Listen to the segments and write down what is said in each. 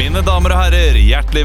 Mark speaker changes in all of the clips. Speaker 1: Mine damer og herrer, hjertelig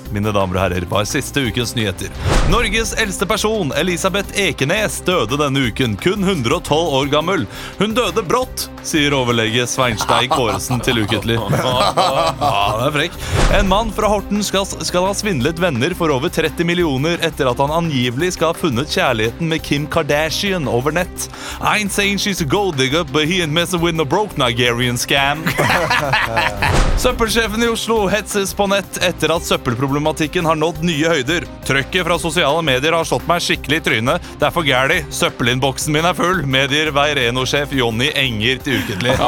Speaker 1: mine damer og herrer, var siste ukens nyheter. Norges eldste person, Elisabeth Ekenes, døde denne uken, kun 112 år gammel. Hun døde brått, sier overlege Sveinstein Kåresen til Ukentlig. Ja, det er frekk. En mann fra Horten skal, skal ha svindlet venner for over 30 millioner etter at han angivelig skal ha funnet kjærligheten med Kim Kardashian over nett. I'm saying she's a gold digger, but he ain't messing with no broke Nigerian scam. Søppelsjefen i Oslo hetses på nett etter at søppelproblematikken har nådd nye høyder. Trøkket fra sosiale medier har slått meg skikkelig i trynet. Det er for gæli. Søppelinnboksen min er full, medier Veireno-sjef Jonny Enger til Ukentlig.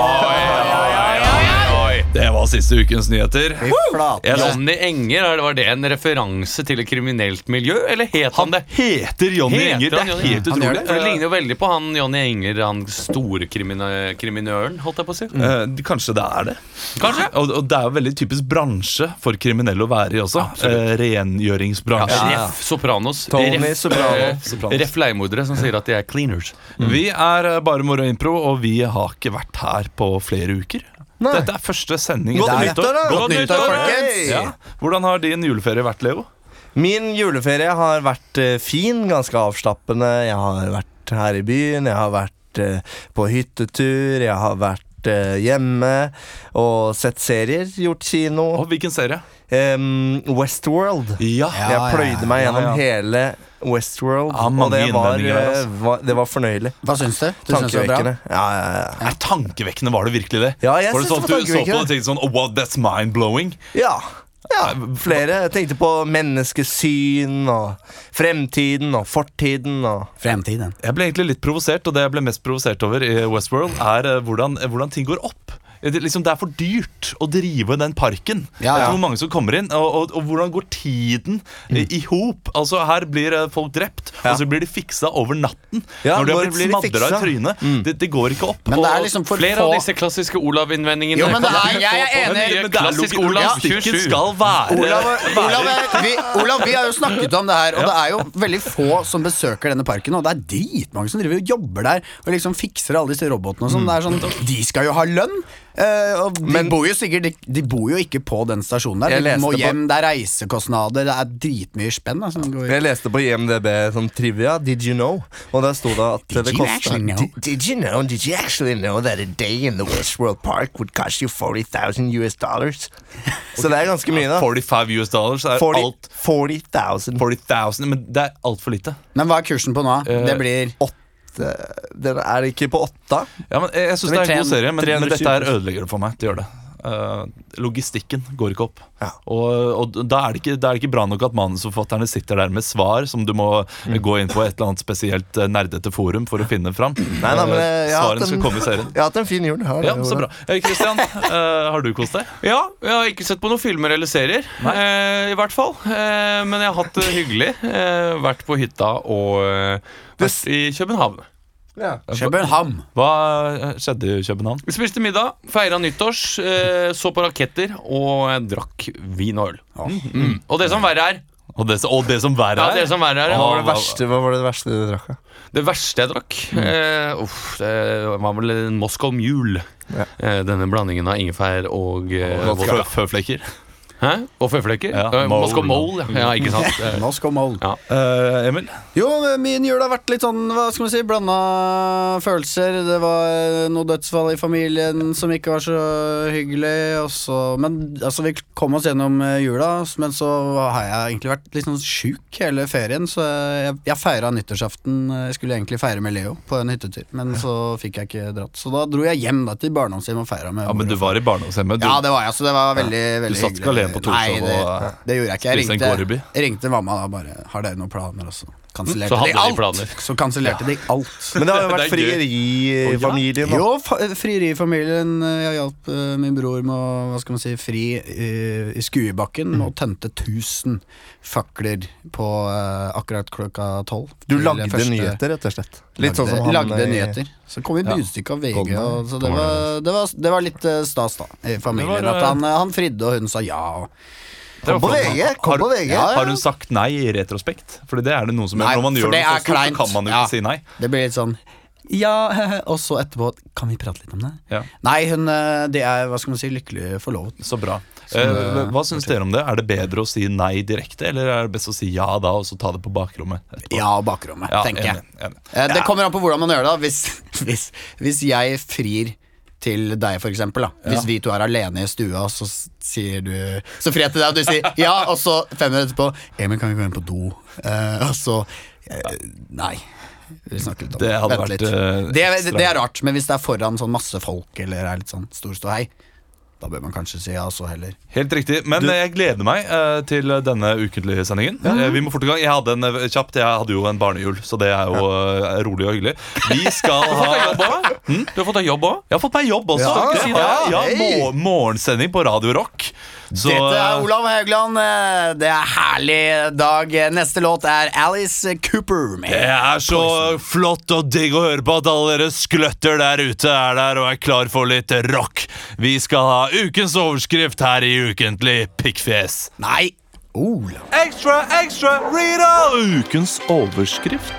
Speaker 1: Det var siste ukens nyheter.
Speaker 2: Fy flate.
Speaker 1: Jeg synes
Speaker 3: Johnny Enger, er det- var det en referanse til et kriminelt miljø, eller het han det?
Speaker 1: heter Jonny
Speaker 3: Heter
Speaker 1: Enger. Det
Speaker 3: han
Speaker 1: er
Speaker 3: Johnny
Speaker 1: helt
Speaker 2: Enger? Han gjør
Speaker 1: utrolig.
Speaker 3: For Det ligner jo veldig på han Johnny Enger, han store krimine kriminøren, holdt jeg på å si.
Speaker 4: Mm.
Speaker 1: Eh, kanskje det er det.
Speaker 3: Kanskje?
Speaker 1: Og, og det er jo veldig typisk bransje for kriminelle å være i også. Eh, rengjøringsbransjen.
Speaker 3: Ref Sopranos.
Speaker 2: Tony
Speaker 3: ref,
Speaker 2: Soprano.
Speaker 3: eh,
Speaker 1: Sopranos.
Speaker 3: Ref leiemordere som sier at de er cleaners.
Speaker 2: Mm.
Speaker 1: Vi er eh, bare Moro Impro, og vi har ikke vært her på flere uker.
Speaker 2: Nei.
Speaker 1: Dette er første sending.
Speaker 2: Godt
Speaker 1: etter
Speaker 2: nyttår, da. Godt nyttår, folkens.
Speaker 1: Ja. Hvordan har din juleferie vært, Leo?
Speaker 2: Min juleferie har vært eh, fin, ganske avslappende. Jeg har vært her i byen, jeg har vært eh, på hyttetur, jeg har vært eh, hjemme og sett serier, gjort kino.
Speaker 1: Og hvilken serie?
Speaker 2: Em, Westworld.
Speaker 1: Ja,
Speaker 2: jeg pløyde meg gjennom
Speaker 1: ja, ja.
Speaker 2: hele Westworld,
Speaker 1: Ja, mange
Speaker 2: og det var,
Speaker 1: innvendinger der,
Speaker 2: eh,
Speaker 1: altså.
Speaker 2: va- det var fornøyelig.
Speaker 4: Hva syns du? Du syns det var bra?
Speaker 2: Tankevekkende. Ja, ja, ja.
Speaker 1: Er tankevekkende, var det virkelig det?
Speaker 2: Ja, jeg
Speaker 1: var det
Speaker 2: synes
Speaker 1: sånn
Speaker 2: det var
Speaker 1: at du så på det
Speaker 2: tankevekkende.
Speaker 1: og tenkte sånn oh, wow, That's mind-blowing?
Speaker 2: Ja. ja flere. Jeg tenkte på menneskesyn og fremtiden og fortiden og
Speaker 4: Fremtiden.
Speaker 1: Jeg ble egentlig litt provosert, og det jeg ble mest provosert over i Westworld, er eh, hvordan, eh, hvordan ting går opp. Det, liksom, det er for dyrt å drive den parken.
Speaker 4: Ja,
Speaker 1: Det
Speaker 4: ja.
Speaker 1: er hvor mange som kommer inn, og, og, og hvordan går tiden eh, i hop? Altså, her blir eh, folk drept,
Speaker 2: Ja.
Speaker 1: og så blir de fiksa over natten.
Speaker 2: Ja,
Speaker 1: når de
Speaker 2: når
Speaker 1: har blitt
Speaker 2: blir de
Speaker 1: smadra i
Speaker 2: fiksa?
Speaker 1: trynet. Det, det går ikke opp.
Speaker 4: Men det
Speaker 1: Og-
Speaker 4: er liksom for
Speaker 3: Flere
Speaker 4: få
Speaker 3: av disse klassiske Olav-innvendingene.
Speaker 4: Jo, men det er- jeg er
Speaker 3: Men
Speaker 4: enig.
Speaker 3: det
Speaker 1: men det
Speaker 3: er
Speaker 1: er
Speaker 3: klassisk
Speaker 1: logikk-
Speaker 3: Olav
Speaker 1: logistikken
Speaker 3: 27.
Speaker 1: skal være
Speaker 4: Olav,
Speaker 1: være-
Speaker 4: Olav, eh, vi, Olav, vi har jo snakket om det her, og det er jo veldig få som besøker denne parken. Og det er dritmange som driver og jobber der og liksom fikser alle disse robotene. Og sånn. det er sånn, de skal jo ha lønn! eh, og de,
Speaker 2: Mm. Men-
Speaker 4: bor jo sikkert, de, de bor jo ikke på den stasjonen der.
Speaker 2: Jeg
Speaker 4: De
Speaker 2: leste
Speaker 4: må
Speaker 2: på-
Speaker 4: hjem, det er reisekostnader, det er dritmye spenn. Da, som går.
Speaker 2: Jeg leste på IMDb sånn trivia, did you know? Og der sto det at
Speaker 4: Did
Speaker 2: det
Speaker 4: you
Speaker 2: kosta
Speaker 4: actually know?
Speaker 2: did, did you know, did you actually know that a day in the Westworld Park would cost you 40,000 US dollars? Så det er ganske mye, da.
Speaker 1: 45 US dollars er
Speaker 2: 40
Speaker 1: alt
Speaker 2: 40,000.
Speaker 1: 40,000, men det er altfor lite.
Speaker 4: Men hva er kursen på nå?
Speaker 2: Eh,
Speaker 4: det blir
Speaker 2: Den er ikke på åtta?
Speaker 1: Ja, men jeg jeg syns
Speaker 4: Det
Speaker 1: det
Speaker 4: blir
Speaker 1: er en god
Speaker 4: tre-
Speaker 1: serie, men, men
Speaker 4: 320.
Speaker 1: dette her ødelegger det for meg. Det gjør det. Eh, logistikken går ikke opp.
Speaker 2: Ja.
Speaker 1: Og, og da, er det ikke, da er det ikke bra nok at manusforfatterne sitter der med svar som du må
Speaker 2: Mm.
Speaker 1: eh, gå inn på et eller annet spesielt eh, nerdete forum for å finne fram.
Speaker 2: Nei, nei, men
Speaker 1: Eh,
Speaker 2: jeg, jeg, har
Speaker 1: Svarene
Speaker 2: hatt
Speaker 1: skal
Speaker 2: en,
Speaker 1: komme i serien.
Speaker 2: jeg har hatt en fin jul. Har det,
Speaker 1: Ja, så
Speaker 2: Olav.
Speaker 1: bra. Kristian, har du kost deg?
Speaker 3: Ja, jeg har ikke sett på noen filmer eller serier. Eh, I hvert fall. Eh, men jeg har hatt det hyggelig. Eh, vært på hytta og eh, vært i København.
Speaker 4: København.
Speaker 1: Hva eh, skjedde i København?
Speaker 3: Vi spiste middag, feira nyttårs, eh, så på raketter og eh, drakk vin og øl. Mm. Og det som verre er
Speaker 1: Og det, som- og det som verre
Speaker 3: ja,
Speaker 1: er
Speaker 3: det, som verre er
Speaker 2: Hva var
Speaker 3: det,
Speaker 2: det verste, hva var det verste du drakk? da?
Speaker 3: verste jeg drakk, eh, uff, det var vel en Moscow Mule. Eh, denne blandingen av ingefær og eh,
Speaker 1: Fø-
Speaker 3: vodka.
Speaker 1: Føflekker.
Speaker 3: Hæ? Og føflekker.
Speaker 1: Ja,
Speaker 3: Eh,
Speaker 1: mole.
Speaker 3: Moscow Mole, ja. ja. Ikke sant. Eh,
Speaker 4: Nå skal mål.
Speaker 1: Eh, Emil?
Speaker 4: Jo, min jul har vært litt sånn, hva skal man si, blanda følelser. Det var eh, noe dødsfall i familien som ikke var så hyggelig. Og så, men altså, vi kom oss gjennom eh, jula, men så har jeg egentlig vært litt sånn sjuk hele ferien. Så jeg, jeg feira nyttårsaften. Jeg skulle egentlig feire med Leo på en hyttetur, men så fikk jeg ikke dratt. Så da dro jeg hjem da til barndomshjemmet og feira med
Speaker 1: Ja, men
Speaker 4: mor
Speaker 1: du
Speaker 4: og
Speaker 1: var i barndomshjemmet. Du-
Speaker 4: ja, det var jeg, så det var veldig, veldig
Speaker 1: satt ikke alene på Torshov
Speaker 4: Nei, det,
Speaker 1: og, eh,
Speaker 4: det gjorde jeg ikke. Jeg
Speaker 1: spiste en
Speaker 4: ringte,
Speaker 1: kålrabi?
Speaker 4: jeg ringte mamma da bare Har dere noen planer også? Kansellerte
Speaker 3: Så hadde
Speaker 4: de
Speaker 3: de
Speaker 4: alt!
Speaker 3: planer.
Speaker 4: så kansellerte de alt.
Speaker 2: Men det har jo
Speaker 3: Det
Speaker 2: vært
Speaker 3: er gøy.
Speaker 2: frieri i familien. da.
Speaker 4: Jo, fa- frierifamilien eh, Jeg hjalp eh, min bror med å hva skal man si, fri eh, i skuebakken og tente 1000 fakler på eh, akkurat klokka tolv.
Speaker 2: Du
Speaker 4: Til
Speaker 2: lagde
Speaker 4: første-
Speaker 2: nyheter, rett og slett. Litt sånn som
Speaker 4: lagde,
Speaker 2: han
Speaker 4: lagde
Speaker 2: eh,
Speaker 4: nyheter. Så kom vi budstykke av VG,
Speaker 2: Golden.
Speaker 4: og, så det var, det, var, det var litt eh, stas, da, i familien.
Speaker 1: Det var,
Speaker 4: at
Speaker 1: eh,
Speaker 4: han, eh, han fridde, og hun sa ja. Og,
Speaker 1: Det var
Speaker 2: På
Speaker 1: flott.
Speaker 2: VG! Kom på VG!
Speaker 4: Ja, ja.
Speaker 1: Har hun sagt nei i retrospekt? Fordi det er det noen som
Speaker 4: Nei,
Speaker 1: gjør. Når man
Speaker 4: for
Speaker 1: gjør
Speaker 4: det
Speaker 1: det så
Speaker 4: er
Speaker 1: stort,
Speaker 4: kleint.
Speaker 1: så kan man jo
Speaker 4: Ja.
Speaker 1: ikke si nei.
Speaker 4: det ble litt sånn ja, og så etterpå Kan vi prate litt om det?
Speaker 1: Ja.
Speaker 4: Nei, hun eh, Det er hva skal man si, lykkelig forlovet.
Speaker 1: Så bra.
Speaker 4: Som,
Speaker 1: Eh,
Speaker 4: eh,
Speaker 1: hva syns dere om det? Er det bedre å si nei direkte, eller er det best å si ja da, og så ta det på bakrommet? etterpå?
Speaker 4: Ja, bakrommet,
Speaker 1: Ja,
Speaker 4: tenker jeg.
Speaker 1: enig, enig.
Speaker 4: Eh, Det
Speaker 1: Ja.
Speaker 4: kommer an på hvordan man gjør det. da. Hvis, hvis, hvis jeg frir til deg, for eksempel. Da. Hvis vi to er alene i stua, så s- sier du Så frir jeg til deg, og du sier ja, og så fem minutter etterpå Emil, kan vi gå inn på do? Eh, og så eh, Nei. Vi snakker litt om
Speaker 1: Det hadde
Speaker 4: Vent
Speaker 1: vært,
Speaker 4: litt.
Speaker 1: eh,
Speaker 4: det, er-
Speaker 1: ekstra.
Speaker 4: det er rart, men hvis det er foran sånn masse folk eller er litt sånn stor ståhei, da bør man kanskje si ja, så heller.
Speaker 1: Helt riktig. Men eh, jeg gleder meg eh, til denne ukentlige sendingen. Eh, Vi må fort i gang. Jeg hadde en eh, kjapt, jeg hadde jo en barnehjul, så det er jo eh, rolig og hyggelig. Vi skal ha
Speaker 3: Du har fått deg jobb også?
Speaker 1: Jeg
Speaker 3: Du har fått deg jobb òg?
Speaker 1: har fått meg jobb også.
Speaker 2: Ja,
Speaker 1: Skal jeg si det?
Speaker 2: ja,
Speaker 1: ja,
Speaker 2: hei.
Speaker 1: mor Morgensending på Radio Rock. Så,
Speaker 4: Dette
Speaker 1: eh,
Speaker 4: er Olav Haugland. eh, Det er herlig dag. Neste låt er Alice Cooper med
Speaker 1: Det er så flott og digg å høre på at alle dere skløtter der ute er der og er klar for litt rock. Vi skal ha ukens overskrift her i Ukentlig pikkfjes.
Speaker 4: Nei! Olav.
Speaker 1: Ekstra, ekstra, Rita! Ukens overskrift.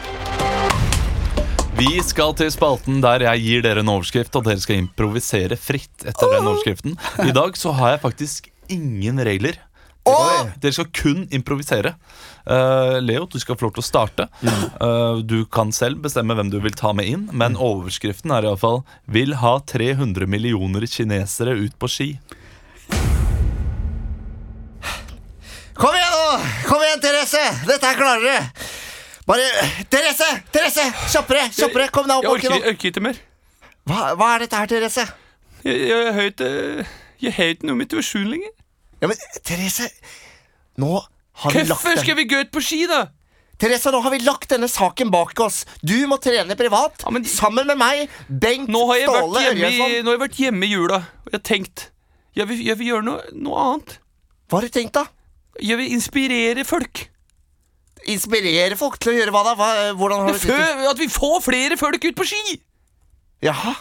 Speaker 1: Vi skal til spalten der jeg gir dere en overskrift, og dere skal improvisere fritt etter den overskriften. I dag så har jeg faktisk ingen regler. Dere, dere skal kun improvisere. Eh, Leo, du skal få lov til å starte. Eh, du kan selv bestemme hvem du vil ta med inn,
Speaker 4: Mm.
Speaker 1: men overskriften er iallfall 'Vil ha 300 millioner kinesere ut på ski'.
Speaker 2: Kom igjen, nå! Kom igjen, Therese! Dette her klarer dere! Bare Therese! Therese! Kjappere! kjappere Kom deg opp
Speaker 3: Jeg orker,
Speaker 2: bakken nå!
Speaker 3: jeg orker ikke mer.
Speaker 2: Hva, hva er dette her, Therese?
Speaker 3: Jeg, jeg, har ikke- jeg har ikke noe motivasjon lenger.
Speaker 2: Ja, men Therese Nå har vi lagt
Speaker 3: Hvorfor
Speaker 2: den.
Speaker 3: skal vi gå ut på ski, da?
Speaker 2: Therese, nå har vi lagt denne saken bak oss. Du må trene privat
Speaker 3: Ja, men-
Speaker 2: sammen med meg, Bengt
Speaker 3: Nå har jeg vært
Speaker 2: Ståle sånn?
Speaker 3: hjemme i,
Speaker 2: Ørjasson.
Speaker 3: nå har jeg vært hjemme i jula og jeg har tenkt jeg vil, jeg vil gjøre noe, noe annet.
Speaker 2: Hva har du tenkt, da?
Speaker 3: Jeg vil inspirere folk.
Speaker 2: Inspirere folk til å gjøre hva da? Hva, hvordan har du tenkt?
Speaker 3: Før, at vi får flere folk ut på ski!
Speaker 2: Jaha.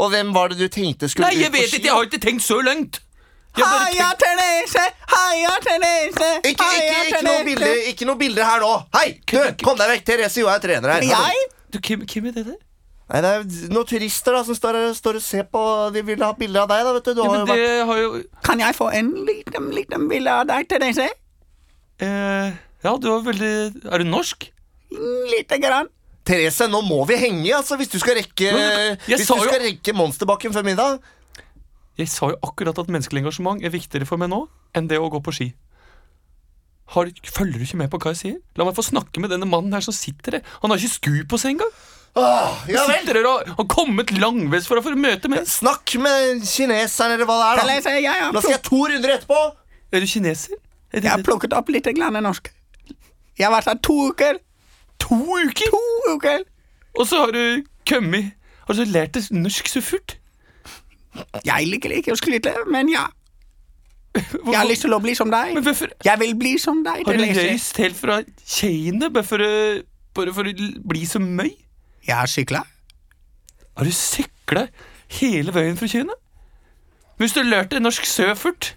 Speaker 2: Og hvem var det du tenkte skulle
Speaker 3: Nei,
Speaker 2: ut
Speaker 3: jeg
Speaker 2: på
Speaker 3: vet
Speaker 2: ski?
Speaker 3: ikke, jeg har ikke tenkt så langt. Jeg har bare tenkt,
Speaker 4: Therese! Heia Therese!
Speaker 2: Ikke, ikke, ikke, noe bilder, ikke noe bilder her nå. Hei, du, kom deg vekk. Therese Johaug trener her.
Speaker 3: du, hvem, hvem er det der?
Speaker 2: Nei, det er noen turister da som står, her og står og ser på. De vil ha bilde av deg, da. vet du, du
Speaker 3: Ja,
Speaker 2: har
Speaker 3: men
Speaker 2: jo
Speaker 3: det
Speaker 2: vært...
Speaker 3: har jo
Speaker 4: Kan jeg få en liten, liten bilde av deg, Therese?
Speaker 3: eh, Ja, du var veldig Er du norsk?
Speaker 4: Lite grann.
Speaker 2: Therese, nå må vi henge altså, hvis du skal rekke,
Speaker 3: Men jeg
Speaker 2: hvis du
Speaker 3: sa jo-
Speaker 2: skal rekke Monsterbakken før middag.
Speaker 3: Jeg sa jo akkurat at menneskelig engasjement er viktigere for meg nå enn det å gå på ski. Har, følger du ikke med på hva jeg sier? La meg få snakke med denne mannen her som sitter der. Han har ikke sku på seg engang.
Speaker 2: Åh, ja
Speaker 3: Han
Speaker 2: vel.
Speaker 3: sitter der og har kommet langveis for å få møte med
Speaker 2: Snakk med kineseren, eller hva det er. da
Speaker 4: Therese, jeg har,
Speaker 2: Nå skal jeg to runder etterpå.
Speaker 3: Er du kineser? Er det,
Speaker 4: jeg har plukket opp litt grann norsk. Jeg har vært her to uker.
Speaker 3: to uker?
Speaker 4: To uker!
Speaker 3: Og så har du kommet Har du lært deg norsk så fort?
Speaker 4: Jeg liker ikke å skryte, men ja.
Speaker 3: Hvorfor-
Speaker 4: Jeg har lyst til å bli som deg.
Speaker 3: Men hvorfor
Speaker 4: Jeg vil bli som deg,
Speaker 3: har du
Speaker 4: Therese.
Speaker 3: reist helt fra Kina bare for å, bare for å l- bli så møy?
Speaker 4: Jeg har sykla.
Speaker 3: Har du sykla hele veien fra Kina? Hvis du har lært deg norsk så fort,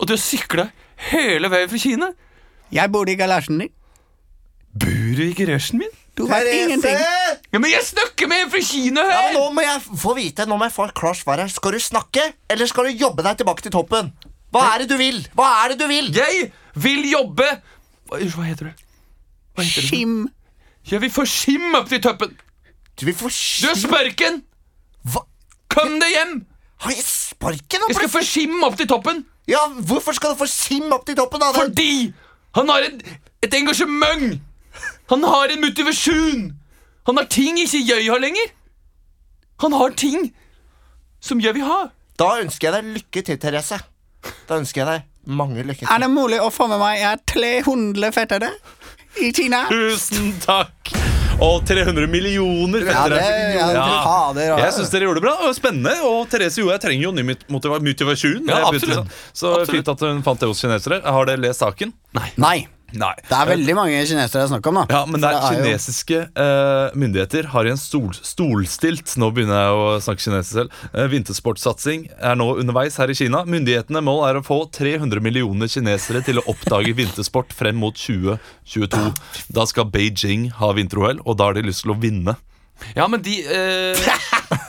Speaker 3: og du har sykla hele veien fra Kina
Speaker 4: Jeg bodde i galasjen din.
Speaker 3: Bor du i garasjen min?
Speaker 4: Du vet ingenting.
Speaker 3: Ja, Men jeg snakker med en fra Kina
Speaker 2: Ja, men
Speaker 3: her!
Speaker 2: nå må jeg få vite, nå må jeg få et klart svar her. Skal du snakke, eller skal du jobbe deg tilbake til toppen? Hva er det du vil? Hva er det du vil?
Speaker 3: Jeg vil jobbe Hva hva heter du? Hva heter du?
Speaker 4: Kim.
Speaker 3: Jeg vil få skim opp til toppen!
Speaker 2: Du vil få
Speaker 3: Du er
Speaker 2: ski...
Speaker 3: sparken!
Speaker 2: Hva?
Speaker 3: Kom deg hjem!
Speaker 2: Har jeg sparken opp?
Speaker 3: Jeg skal få skim opp til toppen
Speaker 2: Ja, hvorfor skal du få sim opp til toppen? da? Det-
Speaker 3: fordi han har et, et engasjement! Han har en motivasjon! Han har ting ikke jeg har lenger! Han har ting som jeg vil ha.
Speaker 2: Da ønsker jeg deg lykke til, Therese. Da ønsker jeg deg mange lykke
Speaker 4: Er
Speaker 2: til.
Speaker 4: det mulig å få med meg Jeg er 300 fettere? i Kina.
Speaker 1: Tusen takk! Og 300 millioner
Speaker 4: Ja, det,
Speaker 1: fettere.
Speaker 4: ja, fader, ja.
Speaker 1: Jeg syns dere gjorde det bra. og Spennende. Og Therese Johaug trenger jo ny mot- motiva- motivasjon.
Speaker 3: Ja,
Speaker 1: Det er
Speaker 3: absolutt.
Speaker 1: plutselig sånn. Så
Speaker 3: Absolutt.
Speaker 1: fint at hun fant det hos kinesere. Har dere lest saken?
Speaker 4: Nei.
Speaker 1: Nei.
Speaker 4: Det er veldig mange kinesere det er snakk om, da.
Speaker 1: Ja, men det er
Speaker 4: For jo-
Speaker 1: kinesiske eh, myndigheter har i en stol, stolstilt Nå begynner jeg å snakke kinesisk selv. Eh, vintersportsatsing er nå underveis her i Kina. Myndighetene mål er å få 300 millioner kinesere til å oppdage vintersport frem mot 2022. Da skal Beijing ha vinter-OL, og da har de lyst til å vinne.
Speaker 3: Ja, men de, eh,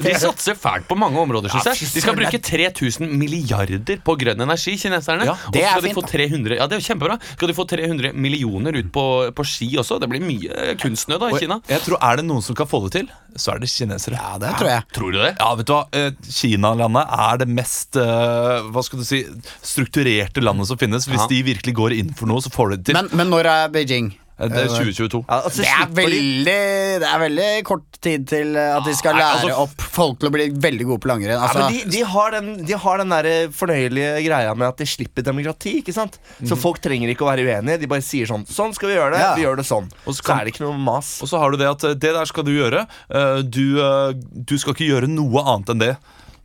Speaker 3: de satser fælt på mange områder, synes jeg. De skal bruke 3000 milliarder på grønn energi, kineserne.
Speaker 1: Ja,
Speaker 3: og
Speaker 4: det
Speaker 3: så
Speaker 4: er
Speaker 3: skal de
Speaker 4: fint,
Speaker 3: få
Speaker 4: da.
Speaker 3: 300 Ja, det er jo kjempebra. Skal de få 300 millioner ut på, på ski også? Det blir mye eh, kunstsnø da i
Speaker 1: Og jeg,
Speaker 3: Kina.
Speaker 1: jeg tror Er det noen som kan få det til, så er det kinesere.
Speaker 4: Ja, det tror jeg.
Speaker 3: Tror du det?
Speaker 1: Ja, vet du hva? Eh, Kinalandet er det mest eh, hva skal du si, strukturerte landet som finnes. Hvis
Speaker 3: Ja.
Speaker 1: de virkelig går inn for noe, så får de det til.
Speaker 4: Men, men når er Beijing?
Speaker 1: Eh, det er 2022.
Speaker 2: Ja, altså,
Speaker 4: Det er,
Speaker 2: slipper de-
Speaker 4: veldig, det er veldig kort tid til eh, at de skal
Speaker 3: Nei,
Speaker 4: lære
Speaker 3: altså-
Speaker 4: opp folk til å bli veldig gode på langrenn.
Speaker 2: Ah, ja,
Speaker 4: Altså,
Speaker 2: men de, de har den, de har den der eh, fornøyelige greia med at de slipper demokrati. ikke sant? Så folk trenger ikke å være uenige. De bare sier sånn Sånn skal vi gjøre det.
Speaker 4: Ja.
Speaker 2: Vi gjør det sånn.
Speaker 1: Og så
Speaker 2: så,
Speaker 1: kan-
Speaker 2: er det ikke noe mas.
Speaker 1: Og så har du det at eh, det der skal du gjøre. Eh, Du, eh, du skal ikke gjøre noe annet enn det.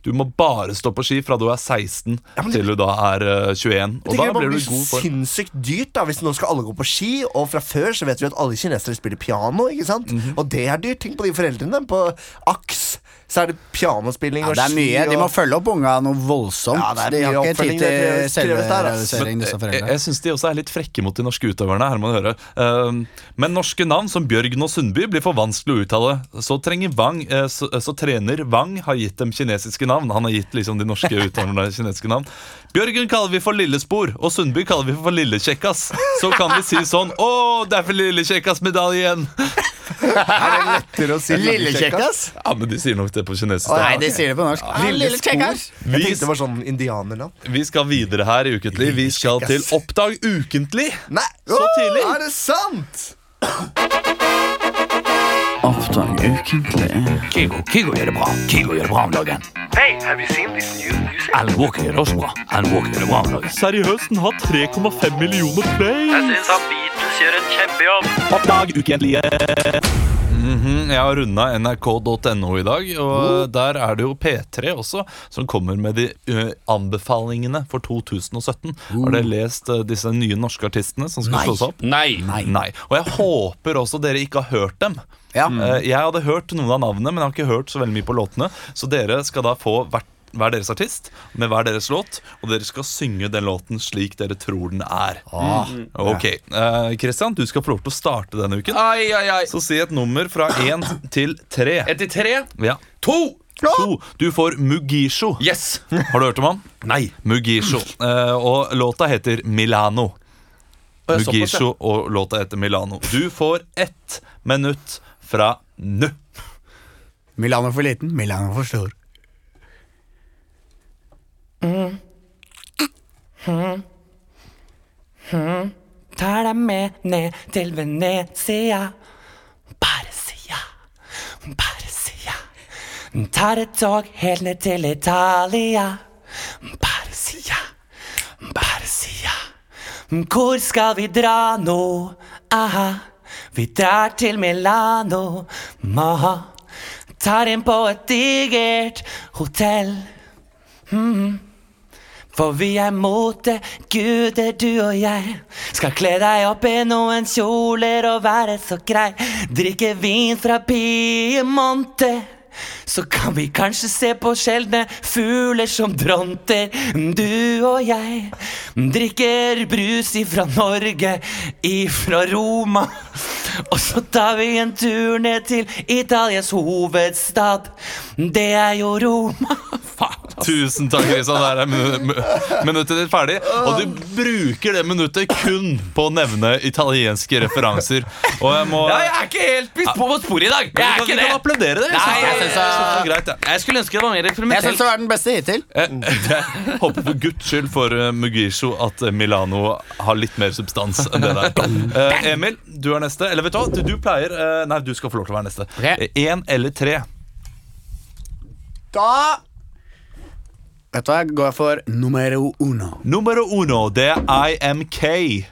Speaker 1: Du må bare stå på ski fra du er 16
Speaker 2: men det-
Speaker 1: til du da er eh, 21. Og
Speaker 2: Jeg
Speaker 1: da
Speaker 2: tenker det bare
Speaker 1: blir du
Speaker 2: blir
Speaker 1: god for
Speaker 2: sinnssykt dyrt da Hvis nå skal alle gå på ski Og fra før så vet vi at alle kinesere spiller piano Ikke sant? Og det er dyrt Tenk på de foreldrene På AKS Så er det pianospilling
Speaker 4: ja,
Speaker 2: og
Speaker 4: det er
Speaker 2: ski
Speaker 4: mye. De
Speaker 2: og-
Speaker 4: må følge opp unga noe voldsomt.
Speaker 2: Ja, det er
Speaker 4: de
Speaker 2: mye
Speaker 4: har ikke
Speaker 2: oppfølging
Speaker 4: tid
Speaker 2: det
Speaker 4: til
Speaker 2: kreves- kreves der, ass. eh,
Speaker 4: selvrealisering, disse
Speaker 1: jeg,
Speaker 4: foreldrene.
Speaker 1: jeg syns de også er litt frekke mot de norske utøverne. her må du høre Ehm, Men norske navn som Bjørgen og Sundby blir for vanskelig å uttale. Så, trenger Wang, eh, så, så trener Wang har gitt dem kinesiske navn. Han har gitt liksom de norske utøverne kinesiske navn. Bjørgen kaller vi for Lillespor, og Sundby kaller vi for Lillekjekkas. Så kan vi si sånn Å, det er for Lillekjekkas medalje igjen!
Speaker 2: Lettere å si
Speaker 4: Lille kjekkas?
Speaker 1: Ja, men de sier nok det på kinesisk.
Speaker 4: Nei,
Speaker 1: da.
Speaker 4: de sier det på norsk. Ja, lille kjekkas.
Speaker 2: Jeg
Speaker 1: Vi,
Speaker 2: tenkte det var sånn indianerland
Speaker 1: vi skal videre her i Ukentlig. Vi skal til Oppdag ukentlig.
Speaker 2: Nei
Speaker 1: Så
Speaker 2: Åh,
Speaker 1: tidlig?
Speaker 2: Er det sant?
Speaker 5: Kigo, Kigo gjør det bra. Kigo gjør det bra om dagen. Alan Walker gjør det også bra. Alan Walker gjør det bra om dagen.
Speaker 1: Seriøst, den har 3,5 millioner play.
Speaker 6: syns at Beatles gjør en kjempejobb.
Speaker 1: Oppdag ukentlige. jeg har runda nrk.no i dag, og
Speaker 3: Uh.
Speaker 1: der er det jo P3 også som kommer med de ø, anbefalingene for 2017. Har dere lest ø, disse nye norske artistene som skal slå seg opp?
Speaker 3: Uh. Nei.
Speaker 1: Nei. Og jeg håper også dere ikke har hørt dem.
Speaker 4: Ja.
Speaker 1: Eh, Jeg hadde hørt noen av navnene, men jeg har ikke hørt så veldig mye på låtene. Så dere skal da få hvert hver deres artist med hver deres låt, og dere skal synge den låten slik dere tror den er.
Speaker 3: Ah.
Speaker 1: Ok, eh, Christian, du skal få lov til å starte denne uken.
Speaker 3: Ai, ai, ai.
Speaker 1: Så si et nummer fra én til tre.
Speaker 3: Etter tre,
Speaker 1: Ja.
Speaker 3: to
Speaker 1: To. Du får Mugisho.
Speaker 3: Yes!
Speaker 1: Har du hørt om han?
Speaker 3: Nei.
Speaker 1: Mugisho. Eh, og låta heter Milano.
Speaker 3: Å, ja, såpass, ja.
Speaker 1: Mugisho og låta heter Milano. Du får ett minutt fra nå.
Speaker 4: Milano for liten, Milano for stor.
Speaker 7: tar deg med ned til Venezia. Bare si ja, bare si ja. Tar et tog helt ned til Italia. Bare si ja, bare si ja. Hvor skal vi dra nå? Aha. Vi drar til Milano. Aha. Tar inn på et digert hotell. For vi er mote, guder du og jeg. Skal kle deg opp i noen kjoler og være så grei. Drikke vin fra Piemonte. Så kan vi kanskje se på sjeldne fugler som dronter. Du og jeg drikker brus ifra Norge, ifra Roma. Og så tar vi en tur ned til Italias hovedstad. Det er jo Roma. Faen. altså.
Speaker 1: Tusen takk, Kristian. Der er minu- mu- minuttet ditt ferdig. Og du bruker det minuttet kun på å nevne italienske referanser. Og jeg må
Speaker 3: Ja, jeg er ikke helt piss på på sporet i dag.
Speaker 1: Vi
Speaker 3: Jeg er
Speaker 1: kan, vi
Speaker 3: ikke
Speaker 1: kan
Speaker 3: det.
Speaker 1: applaudere det.
Speaker 3: Nei, jeg synes
Speaker 1: det er greit, jeg.
Speaker 3: Jeg skulle ønske det var mer
Speaker 4: Jeg syns
Speaker 3: eksperimentelt.
Speaker 4: det var den beste hittil.
Speaker 2: Eh.
Speaker 1: Jeg håper for guds skyld for eh, Mugisho at eh, Milano har litt mer substans enn det der. Eh, Emil, du er neste. Eller vet du hva, du, du pleier eh, Nei, du skal få lov til å være neste.
Speaker 4: Ok.
Speaker 1: Én eller tre.
Speaker 4: Da Vet du hva, jeg går for numero uno.
Speaker 1: Numero uno, det er IMK.
Speaker 4: I,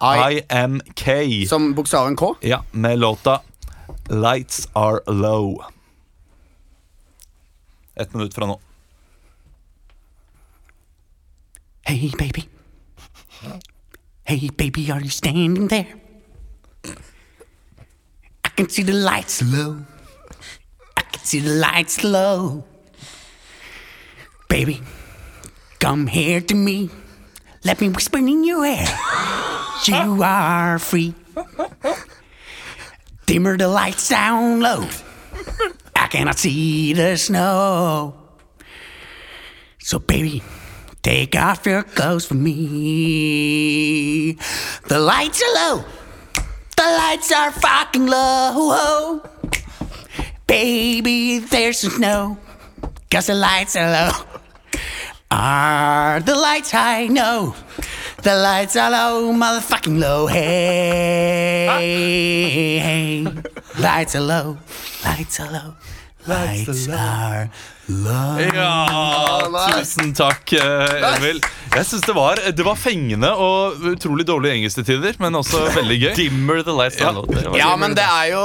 Speaker 1: IMK.
Speaker 4: som bokstaven K?
Speaker 1: Ja, med låta Lights Are Low. Ett minutt fra nå.
Speaker 8: Hey, baby. Hey, baby, are you standing there? I can see the lights low. I can see the lights low. Baby, come here to me. Let me whisper in your ear. You are free. Dimmer the lights down low. I cannot see the snow. So, baby, take off your clothes for me. The lights are low. The lights are fucking low. Baby, there's some snow. Cause the lights are low. Are the lights high? No. The lights are low, motherfucking low. Hey, hey. Lights are low. Lights are low. Lights are low.
Speaker 1: Ja, tusen takk, eh, Emil. Jeg synes det var, det var fengende og utrolig dårlige engelske tider, men også veldig gøy.
Speaker 3: Dimmer the lights down. Det sånn var-
Speaker 4: Ja, men det er jo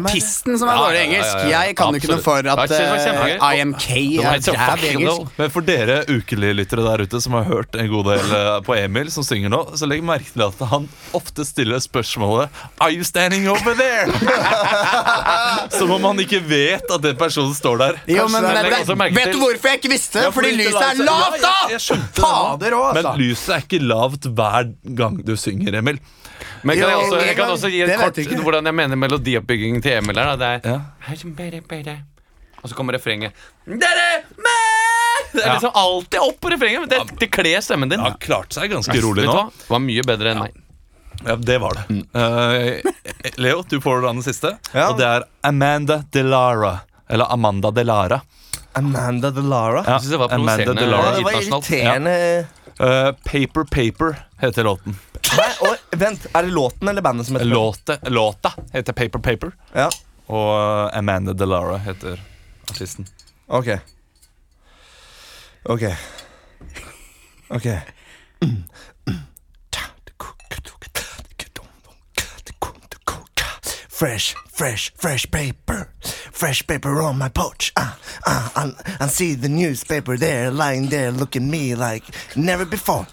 Speaker 4: artisten som er
Speaker 3: Ja, ja, ja, ja,
Speaker 4: dårlig engelsk.
Speaker 3: ja.
Speaker 4: Jeg kan jo ikke noe for
Speaker 3: Absolutt.
Speaker 4: at
Speaker 3: Det var kjempegøy.
Speaker 4: eh, IMK
Speaker 3: var
Speaker 4: er
Speaker 3: helt sånn
Speaker 4: dræv i
Speaker 3: fucking
Speaker 4: engelsk.
Speaker 3: low.
Speaker 1: Men for dere ukelige lyttere der ute som har hørt en god del eh, på Emil, som synger nå, så legg merke til at han ofte stiller spørsmålet Are you standing over there? Som om han ikke vet at den personen står der.
Speaker 4: Jo, men
Speaker 3: det er
Speaker 4: det,
Speaker 3: legger også merke
Speaker 4: Vet du
Speaker 3: til-
Speaker 4: hvorfor jeg ikke visste?
Speaker 1: Ja,
Speaker 4: fordi, lyset er lavt,
Speaker 1: Ja, jeg-
Speaker 4: da!
Speaker 1: jeg skjønte det nå.
Speaker 4: Fader òg,
Speaker 1: Men
Speaker 4: altså.
Speaker 1: lyset er ikke lavt hver gang du synger, Emil.
Speaker 3: Men kan jeg,
Speaker 4: Jo,
Speaker 3: også, jeg kan
Speaker 4: men-
Speaker 3: også gi
Speaker 4: det
Speaker 3: et
Speaker 4: vet
Speaker 3: kort
Speaker 4: jeg ikke.
Speaker 3: hvordan jeg mener melodioppbyggingen til Emil her. da. Det er
Speaker 1: Ja.
Speaker 3: Hei, som bedre, bedre. Og så kommer refrenget. Dere, men! Det er
Speaker 1: Ja.
Speaker 3: liksom alltid opp på refrenget. Men det, det kler stemmen din.
Speaker 1: Han klarte seg ganske rolig
Speaker 3: Vet du
Speaker 1: nå.
Speaker 3: hva? Mm. Det var mye bedre enn meg.
Speaker 1: Ja, det var det. Eh, Leo, du får den siste.
Speaker 2: Ja.
Speaker 1: Og det er Amanda Delara. Eller Amanda Delara.
Speaker 2: Amanda Delara.
Speaker 1: Ja,
Speaker 3: Jeg synes det var
Speaker 1: Amanda
Speaker 3: provoserende.
Speaker 1: Delara.
Speaker 2: Ja, det var
Speaker 3: internasjonalt.
Speaker 2: irriterende.
Speaker 1: Eh, Paper Paper heter låten.
Speaker 2: Nei, og, vent, er det låten eller bandet som heter
Speaker 1: Låte, låta heter Paper Paper.
Speaker 2: Ja,
Speaker 1: Og eh, Amanda Delara heter artisten.
Speaker 2: ok Ok Ok Fresh, fresh, fresh paper Fresh paper on my porch Ah, ah, and, and see the newspaper there Lying there looking me like never before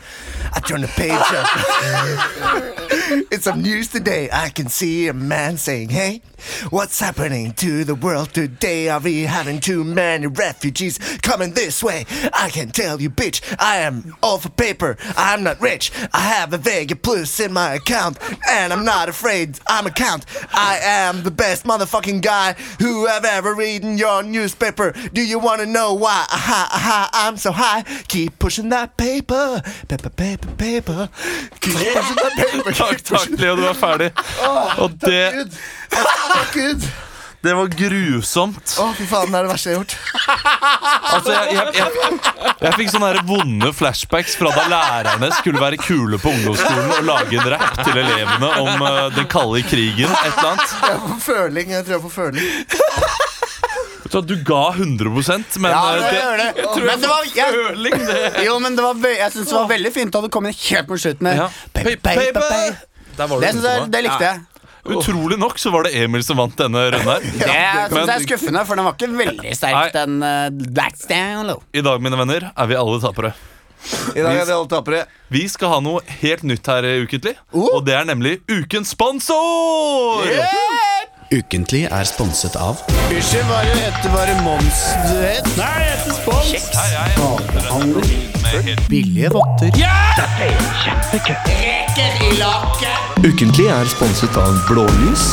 Speaker 2: I turn the page up It's some news today. I can see a man saying, Hey, what's happening to the world today? Are we having too many refugees coming this way? I can tell you, bitch, I am all for paper. I'm not rich. I have a Vega Plus in my account, and I'm not afraid. I'm a count. I am the best motherfucking guy who have ever reading your newspaper. Do you want to know why? Aha, aha, I'm so high. Keep pushing that paper. Paper, paper, paper. Keep pushing that paper.
Speaker 1: Takk, takk, Leo. Du er ferdig. Og det,
Speaker 2: Gud. Takk, Gud.
Speaker 1: det var grusomt.
Speaker 2: Å, fy faen, det er det verste jeg har gjort.
Speaker 1: Altså, jeg, jeg, jeg, jeg fikk sånne her vonde flashbacks fra da lærerne skulle være kule på ungdomsskolen og lage en rap til elevene om eh, den kalde krigen. et eller annet.
Speaker 2: Jeg får føling. Jeg tror jeg får føling.
Speaker 1: Så du ga 100 men
Speaker 4: Ja,
Speaker 1: eh,
Speaker 4: det
Speaker 1: det,
Speaker 4: gjør det. Men det var, jeg,
Speaker 3: Føling, det.
Speaker 4: jo, men det var, ve- jeg syns det var veldig fint at du kom inn helt mot slutten. her.
Speaker 1: ja.
Speaker 4: Pay, pay, pay.
Speaker 1: Der var
Speaker 4: Det,
Speaker 1: du
Speaker 4: synes jeg,
Speaker 1: inne på det.
Speaker 4: det likte jeg.
Speaker 1: Utrolig nok så var det Emil som vant denne runden her.
Speaker 4: Det syns jeg er
Speaker 1: Men-
Speaker 4: skuffende, for den var ikke veldig sterk,
Speaker 1: Nei.
Speaker 4: den eh, That's Down Low.
Speaker 1: I dag, mine venner, er vi alle tapere.
Speaker 2: I dag er vi alle tapere. Oh.
Speaker 1: Vi skal ha noe helt nytt her i Ukentlig, og det er nemlig ukens sponsor!
Speaker 9: Ukentlig er sponset av
Speaker 4: Unnskyld, hva heter bare Mons du het? Nei, jeg heter Spons.
Speaker 9: billige votter.
Speaker 2: Ukentlig er sponset av Blålys.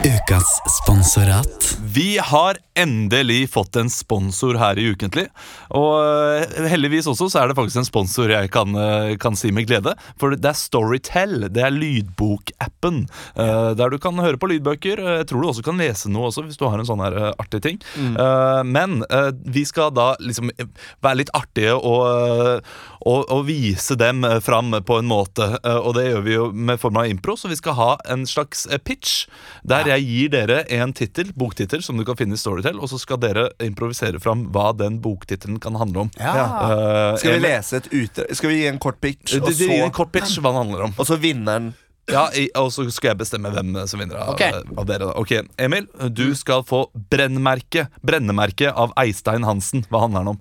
Speaker 9: Ukas sponsorat.
Speaker 1: Vi har endelig fått en sponsor her i Ukentlig. Og eh, heldigvis også så er det faktisk en sponsor jeg kan, eh, kan si med glede. For det er Storytel. Det er lydbokappen. eh, Der du kan høre på lydbøker. Eh, Jeg tror du også kan lese noe også, hvis du har en sånn her eh, artig ting.
Speaker 2: Mm.
Speaker 1: Eh, Men eh, vi skal da liksom eh, være litt artige og, eh, og, og vise dem eh, fram på en måte. Eh, Og det gjør vi jo med form av impro, så vi skal ha en slags eh, pitch der jeg gir dere en tittel, boktittel, som du kan finne i Storytel, og så skal dere improvisere fram hva den boktittelen kan handle om.
Speaker 2: Ja.
Speaker 1: Eh,
Speaker 2: Skal vi
Speaker 1: Emil-
Speaker 2: lese et utdrag? Skal vi gi en kort pitch,
Speaker 1: Du-
Speaker 2: og
Speaker 1: du gir en
Speaker 2: så,
Speaker 1: kort pitch hva den handler om.
Speaker 2: og så vinneren?
Speaker 1: Ja, i, og så skal jeg bestemme hvem eh, som vinner av,
Speaker 4: Ok.
Speaker 1: av dere. da. Ok, Emil, du
Speaker 2: Mm.
Speaker 1: skal få brennmerke Brennemerke av Eistein Hansen. Hva handler den om?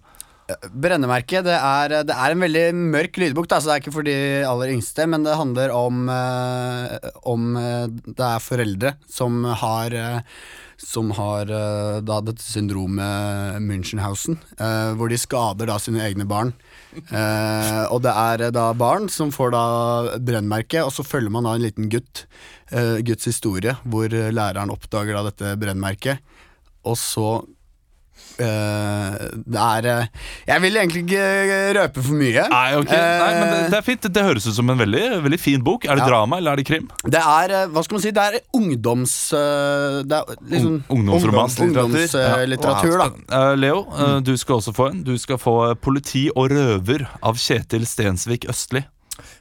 Speaker 4: Brennemerket det er, det er en veldig mørk lydbok, da, så det er ikke for de aller yngste, men det handler om eh, om eh, det er foreldre som har eh, som har eh, da dette syndromet Münchenhausen, eh, hvor de skader da sine egne barn. Eh, og det er eh, da barn som får da brennmerke, og så følger man da en liten gutt. eh, gutts historie, hvor eh, læreren oppdager da dette brennmerket, og så Eh, det er eh, Jeg vil egentlig ikke eh, røpe for mye.
Speaker 1: Nei, ok, Nei, men det,
Speaker 4: Eh,
Speaker 1: det er fint. Det høres ut som en veldig, veldig fin bok. Er det
Speaker 4: Ja.
Speaker 1: drama, eller er det krim?
Speaker 4: det er eh, Hva skal man si? Det er ungdoms... eh, Det er liksom
Speaker 1: Ungdomsroman.
Speaker 4: ungdomslitteratur, da.
Speaker 1: Eh, Leo, eh, du skal også få en. Du skal få eh, 'Politi og røver' av Kjetil Stensvik Østli.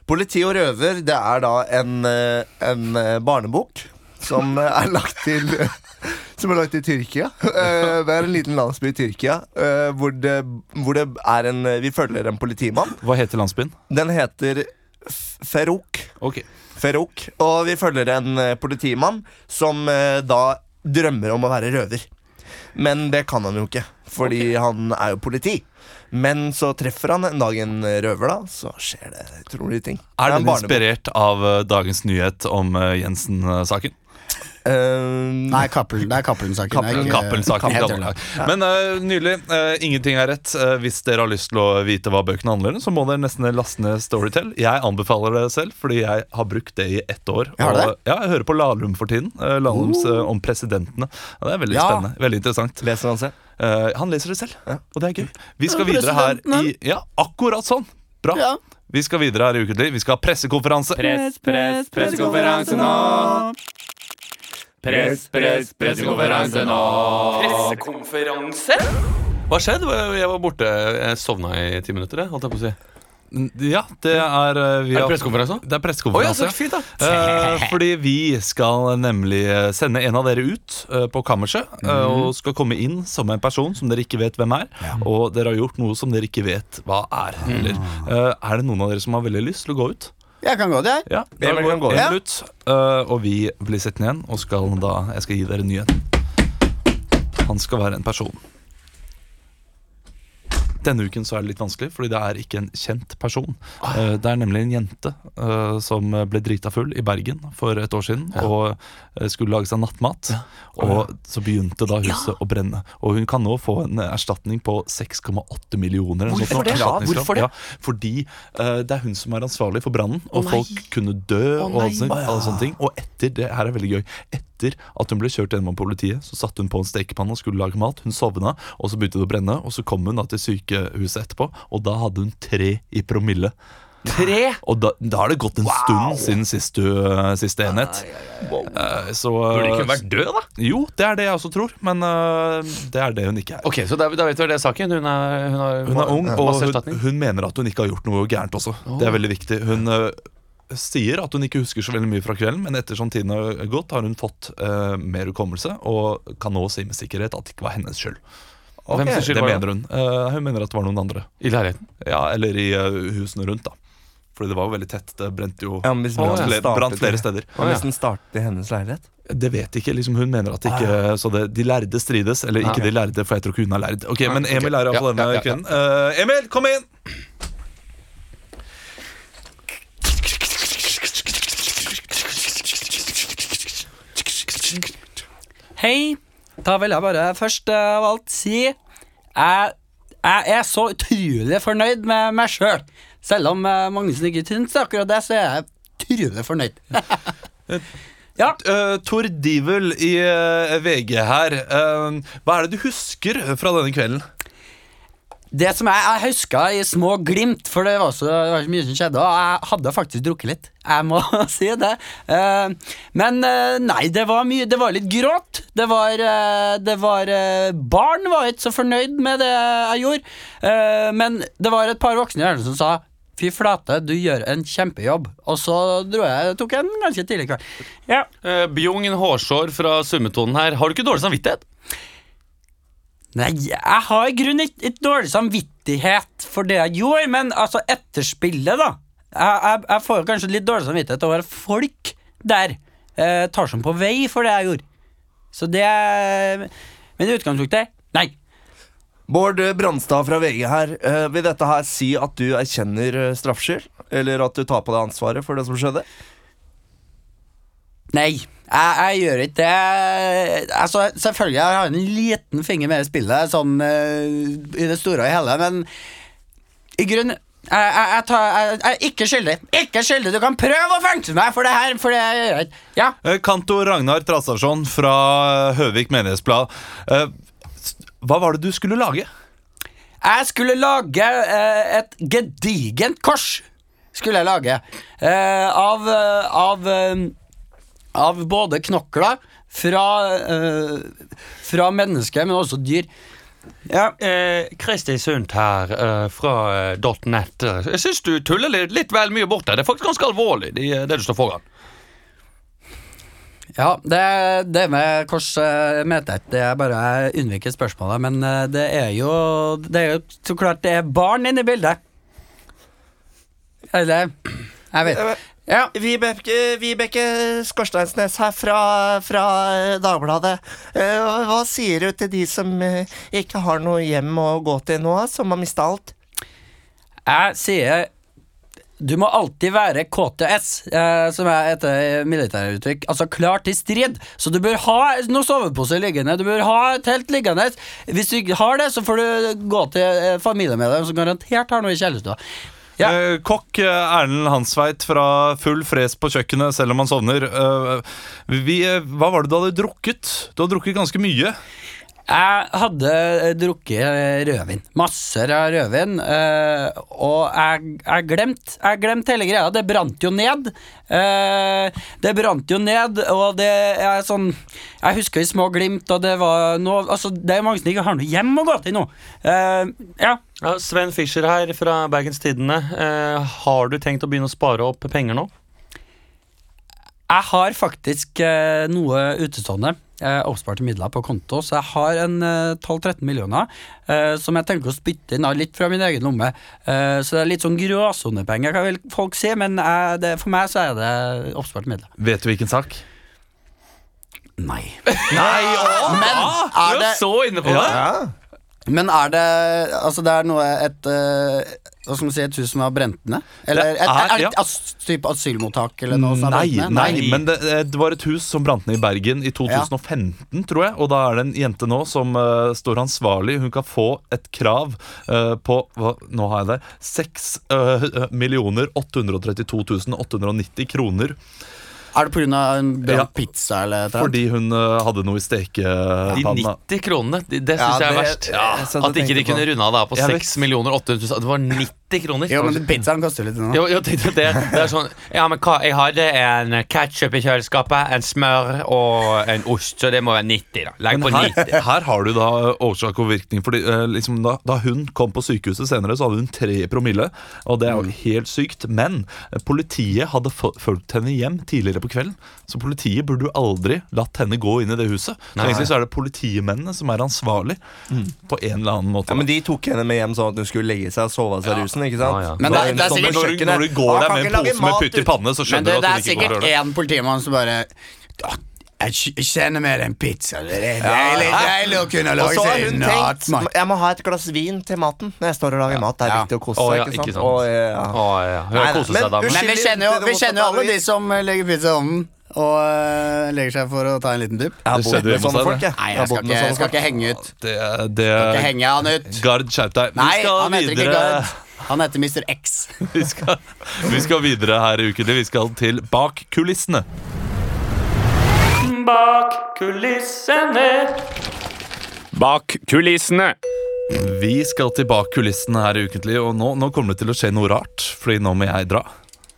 Speaker 2: Politi og røver, det er da en, eh, en eh, barnebok som eh, er lagt til Som er lagt til Tyrkia. Eh, Det er en liten landsby i Tyrkia eh, hvor det, hvor det er en eh, Vi følger en politimann.
Speaker 1: Hva heter landsbyen?
Speaker 2: Den heter F- Feruk.
Speaker 1: Ok
Speaker 2: Feruk. Og vi følger en eh, politimann som eh, da drømmer om å være røver. Men det kan han jo ikke, fordi han er jo politi. Men så treffer han en dag en røver, da, så skjer det utrolige ting.
Speaker 1: Er
Speaker 2: Det
Speaker 1: den
Speaker 2: en barnebok.
Speaker 1: inspirert av eh, dagens nyhet om eh, Jensen-saken?
Speaker 2: Eh,
Speaker 4: Nei, Cappelen. Det er Cappelen-saken. det er
Speaker 1: Kappel-
Speaker 4: ikke-
Speaker 1: Kappelen-saken.
Speaker 4: Helt
Speaker 1: Kappelen.
Speaker 4: enig.
Speaker 1: Men eh, nydelig. eh, ingenting er rett. Eh, hvis dere har lyst til å vite hva bøkene handler om, så må dere nesten laste ned Storytel. Jeg anbefaler det selv, fordi jeg har brukt det i ett år.
Speaker 4: Har du det? Oh.
Speaker 1: ja, jeg hører på Lahlum for tiden. Uh, Lahlums eh, om presidentene. Ja, det er veldig
Speaker 4: Ja.
Speaker 1: spennende. Veldig interessant.
Speaker 2: Leser han selv?
Speaker 1: Eh, han leser det selv, og det er gøy. Vi skal videre her i Ja, akkurat sånn! Bra. Vi skal videre her i Ukentlig. Vi skal ha pressekonferanse.
Speaker 10: Press, press, pressekonferanse nå!
Speaker 11: Ah.
Speaker 3: Pressekonferanse? Hva skjedde? Hva- Jeg var borte. Jeg sovna i ti minutter. jeg, Holdt jeg på å si.
Speaker 1: Ja, det er uh, vi
Speaker 3: Er det
Speaker 1: har-
Speaker 3: pressekonferanse?
Speaker 1: Det er
Speaker 3: Å ja,
Speaker 1: pressekonferanse.
Speaker 3: så fint, da.
Speaker 1: Eh, fordi vi skal nemlig eh, sende en av dere ut eh, på kammerset. eh, og skal komme inn som en person som dere ikke vet hvem er. Og dere har gjort noe som dere ikke vet hva er. Eller, eh, er det noen av dere som har veldig lyst til å gå ut?
Speaker 4: Jeg kan gå, det, jeg.
Speaker 1: Ja, da
Speaker 2: Emil
Speaker 1: går
Speaker 2: kan gå.
Speaker 1: Emil ut. eh, og vi blir sittende igjen, og skal da, jeg skal gi dere nyheten. Han skal være en person. Denne uken så er det litt vanskelig, fordi det er ikke en kjent person. Eh, Det er nemlig en jente eh, som ble drita full i Bergen for et år siden og eh, skulle lage seg nattmat. Og så begynte da huset å brenne. Og hun kan nå få en eh, erstatning på 6,8 millioner. eller noe sånt.
Speaker 3: Hvorfor det?
Speaker 1: Erstatningskrav.
Speaker 3: Hvorfor det?
Speaker 1: Ja, fordi eh, det er hun som er ansvarlig for brannen, og
Speaker 3: Å, nei.
Speaker 1: folk kunne dø. og alt sånt, alle sånne ting Og etter det her er veldig gøy Etter at hun ble kjørt gjennom av politiet, så satte hun på en stekepanne og skulle lage mat. Hun sovna, og så begynte det å brenne. Og så kom hun da til sykehuset etterpå, og da hadde hun tre i promille.
Speaker 3: Tre?
Speaker 1: Og da, da har det gått en stund siden sist, du, eh, siste enhet. Eh, så
Speaker 3: Burde ikke hun vært død, da?
Speaker 1: Jo, det er det jeg også tror, men eh, det er det hun ikke er.
Speaker 3: Ok, så da, da vet vi hva det er saken. Hun er, hun er,
Speaker 1: Hun er ung, og
Speaker 3: masse
Speaker 1: hun,
Speaker 3: erstatning.
Speaker 1: hun mener at hun ikke har gjort noe gærent også. Det er veldig viktig. Hun ø, sier at hun ikke husker så veldig mye fra kvelden, men ettersom tiden har gått, har hun fått ø, mer hukommelse, og kan nå si med sikkerhet at det ikke var hennes skyld.
Speaker 3: Hvem sin skyld
Speaker 1: det
Speaker 3: var det?
Speaker 1: mener hun. Eh, hun mener at det var noen andre.
Speaker 3: I leiligheten.
Speaker 1: Ja, Eller i ø, husene rundt, da. Fordi det var jo veldig tett. Det brente jo
Speaker 2: Ja, men hvis brannen
Speaker 1: brant, flere,
Speaker 2: startet
Speaker 1: brant flere
Speaker 2: i-
Speaker 1: steder.
Speaker 2: Men Hvis den startet i hennes leilighet?
Speaker 1: Det vet ikke. liksom Hun mener at ikke Så det, de lærde strides, eller ikke de lærde, for jeg tror ikke hun er lærd. Ok, Men Emil er
Speaker 3: Ja,
Speaker 1: iallfall
Speaker 3: ja,
Speaker 1: denne
Speaker 3: ja, ja.
Speaker 1: kvinnen. Eh, Emil, kom inn!
Speaker 11: Hei. Da vil jeg bare først eh, av alt si jeg, jeg er så utrolig fornøyd med meg sjøl. Selv om eh, Magnussen ikke syns akkurat det, så er jeg utrolig fornøyd.
Speaker 1: Eh, Tor Divel i eh, VG her. Eh, hva er det du husker fra denne kvelden?
Speaker 11: Det som jeg, jeg huska i små glimt, for det var, så, det var så mye som skjedde, og jeg hadde faktisk drukket litt. Jeg må si det. Eh, men eh, nei, det var mye Det var litt gråt. Det var, eh, det var eh, Barn var ikke så fornøyd med det jeg gjorde. Eh, men det var et par voksne i hjernen som sa Fy flate, du gjør en kjempejobb. Og så dro jeg, tok jeg en ganske tidlig kveld. Ja.
Speaker 3: Eh, Bjugn Hårsår fra Summetonen her. Har du ikke dårlig samvittighet?
Speaker 11: Nei, jeg har i grunnen ikke ikke dårlig samvittighet for det jeg gjorde, men altså etterspillet, da. Jeg, jeg, jeg får jo kanskje litt dårlig samvittighet over at folk der eh, tar som på vei for det jeg gjorde. Så det Men i utgangspunktet nei.
Speaker 2: Bård Brandstad fra VG her. Eh, vil dette her si at du erkjenner eh, straffskyld? Eller at du tar på deg ansvaret for det som skjedde?
Speaker 11: Nei, jeg, jeg gjør ikke det. Altså, selvfølgelig jeg har jeg en liten finger med i spillet, sånn eh, i det store og hele, men i grunnen jeg, jeg, jeg, tar, jeg, jeg er ikke skyldig. Ikke skyldig! Du kan prøve å fengsle meg for det her! For det jeg gjør ikke. Ja.
Speaker 1: Eh, Kantor Ragnar Trastarsson fra eh, Høvik Menighetsblad. Eh, s- Hva var det du skulle lage?
Speaker 11: Jeg skulle lage eh, et gedigent kors. Skulle jeg lage. Eh, av eh, av, eh, av både knokler fra, eh, fra mennesker, men også dyr. Ja.
Speaker 3: Eh, Kristi Sundt her eh, fra eh, .net. Jeg syns du tuller litt, litt vel mye bort her. Det er faktisk ganske alvorlig, det, det du står foran.
Speaker 11: Ja, det, det med kors eh, mente jeg ikke. Det er bare jeg unnviker spørsmålet. Men eh, det er jo Det er jo så klart det er barn inne i bildet. Eller Jeg vet Ja.
Speaker 2: Vibeke, Vibeke Skorsteinsnes her fra, fra eh, Dagbladet. Eh, hva- hva sier du til de som eh, ikke har noe hjem å gå til nå, som har mista alt?
Speaker 11: Jeg sier du må alltid være KTS, eh, som er et eh, militæruttrykk. Altså klar til strid. Så du bør ha noen soveposer liggende. Du bør ha et telt liggende. Hvis du ikke har det, så får du gå til eh, familiemedlem som garantert har noe i kjellerstua.
Speaker 1: Eh, kokk eh, Erlend Hansveit fra Full fres på kjøkkenet selv om han sovner. Eh, vi, eh, hva var det du hadde drukket? Du hadde drukket ganske mye.
Speaker 11: Jeg hadde eh, drukket eh, rødvin. Masser av rødvin. eh, og jeg, jeg glemte jeg glemte hele greia. Det brant jo ned. Eh, det brant jo ned, og det er sånn Jeg husker i små glimt, og det var noe Altså, det er mange som ikke har noe hjem å gå til nå. Eh, ja.
Speaker 3: Ja, Sven Fischer her fra Bergens Tidende. Eh, har du tenkt å begynne å spare opp penger nå?
Speaker 11: Jeg har faktisk eh, noe utestående. Eh, oppsparte midler på konto, så jeg har en eh, 12-13 millioner eh, som jeg tenker å spytte inn av litt fra min egen lomme. Eh, så det er litt sånn gråsonepenger, kan vel folk si, men eh, det, for meg så er det oppsparte midler.
Speaker 1: Vet du hvilken sak?
Speaker 11: Nei.
Speaker 2: Nei,
Speaker 11: Men
Speaker 3: Du
Speaker 11: er
Speaker 3: er
Speaker 11: det
Speaker 3: så inne på det!
Speaker 11: Men er det Altså, det er noe et eh, Hva skal man si, et hus som har brent ned? Eller
Speaker 1: Det
Speaker 11: et,
Speaker 1: er-
Speaker 11: er, det
Speaker 1: ja.
Speaker 11: et as, type asylmottak eller noe som har
Speaker 1: Nei,
Speaker 11: brent ned?
Speaker 1: nei, men det, eh, det var et hus som brant ned i Bergen i 2015, tror jeg. Og da er det en jente nå som eh, står ansvarlig. Hun kan få et krav eh, på hva, Nå har jeg det. 6 millioner 832 890 kroner
Speaker 11: Er det pga. en brant
Speaker 1: Ja.
Speaker 11: pizza eller et eller annet?
Speaker 1: fordi hun eh, hadde noe i
Speaker 3: De
Speaker 1: stekepanna.
Speaker 3: 90 kronene, de- det
Speaker 2: Ja,
Speaker 3: syns jeg er
Speaker 2: det-
Speaker 3: verst.
Speaker 2: ja, jeg satt og
Speaker 3: at ikke de
Speaker 2: tenkte på
Speaker 3: kunne
Speaker 2: det.
Speaker 3: runda det av på
Speaker 1: Jeg vet.
Speaker 3: 6 millioner 800 000. Det var 90 kroner.
Speaker 11: Jo, men pizzaen koster litt nå.
Speaker 3: Jo, jo, tenkte jeg det, det er sånn Ja, men hva, jeg hadde en ketchup i kjøleskapet, en smør og en ost, så det må være 90, da. Legg på
Speaker 1: Men her,
Speaker 3: 90.
Speaker 1: her har du da øh, årsak og virkning. Fordi eh, liksom da, da hun kom på sykehuset senere, så hadde hun tre promille. Og det er
Speaker 11: Mm.
Speaker 1: jo helt sykt. Men eh, politiet hadde fo- fulgt henne hjem tidligere på kvelden. Så politiet burde jo aldri latt henne gå inn i det huset. Så
Speaker 3: Nei.
Speaker 1: egentlig så er det politimennene som er ansvarlig
Speaker 11: Mm.
Speaker 1: på en eller annen måte.
Speaker 2: Ja, men De tok henne med hjem sånn at hun skulle legge seg og sove av seg rusen. ikke sant?
Speaker 3: Ja, ja.
Speaker 11: Men
Speaker 2: Da
Speaker 11: det-
Speaker 2: hun
Speaker 11: det er
Speaker 2: står på
Speaker 1: når,
Speaker 11: sikkert-
Speaker 1: du, når
Speaker 2: kjøkkenet,
Speaker 1: du går
Speaker 2: «Å,
Speaker 1: der
Speaker 2: kan
Speaker 1: med
Speaker 2: ikke
Speaker 1: en
Speaker 2: lage
Speaker 1: pose med
Speaker 2: mat
Speaker 1: putt i
Speaker 2: ut-
Speaker 1: panne, så
Speaker 11: Men det,
Speaker 1: skjønner du at
Speaker 11: det
Speaker 1: hun ikke
Speaker 11: er
Speaker 1: går og
Speaker 11: sikkert
Speaker 1: gjør det.
Speaker 11: én politimann som bare «Åh, Jeg kj- jeg kjenner mer enn pizza. Det er deilig, deilig å kunne
Speaker 2: Og
Speaker 11: lage
Speaker 2: så har
Speaker 11: seg
Speaker 2: hun
Speaker 11: en
Speaker 2: tenkt
Speaker 11: nattmat.
Speaker 2: jeg må ha et glass vin til maten når jeg står og lager mat. Det er
Speaker 11: Ja.
Speaker 2: viktig å kose
Speaker 3: Å,
Speaker 2: seg.
Speaker 3: ja,
Speaker 2: ikke
Speaker 3: ikke
Speaker 2: sant?
Speaker 3: sant.
Speaker 2: Å, ja, ja.
Speaker 3: Å, ja, Hun
Speaker 2: Nei, nei,
Speaker 3: koser
Speaker 2: men
Speaker 3: seg, da.
Speaker 2: unnskyld.
Speaker 3: Men,
Speaker 11: Men vi kjenner jo, vi kjenner jo alle de som eh, legger pizza i ovnen og eh, legger seg for å ta en liten dupp.
Speaker 2: Jeg har
Speaker 1: Det
Speaker 2: bodd
Speaker 1: skjedde
Speaker 2: med
Speaker 1: hjemme hos
Speaker 2: sånne
Speaker 1: deg,
Speaker 2: folk,
Speaker 1: det.
Speaker 2: jeg.
Speaker 11: Nei,
Speaker 2: har
Speaker 11: jeg skal
Speaker 2: bodd med
Speaker 1: sånn
Speaker 11: ikke,
Speaker 2: sånne
Speaker 11: jeg skal
Speaker 2: folk.
Speaker 11: ikke henge ut.
Speaker 1: Det,
Speaker 11: Skal ikke
Speaker 1: det,
Speaker 11: henge han ut.
Speaker 1: Gard, skjerp deg. Vi
Speaker 11: Nei,
Speaker 1: skal
Speaker 11: han heter ikke
Speaker 1: videre-
Speaker 11: Gard. Han heter Mr. X.
Speaker 1: vi skal, vi skal videre her i ukene. Vi skal til Bak kulissene.
Speaker 12: Bak kulissene.
Speaker 1: Vi skal til Bak kulissene her i ukentlig, og nå, nå kommer det til å skje noe rart. Fordi nå må jeg dra.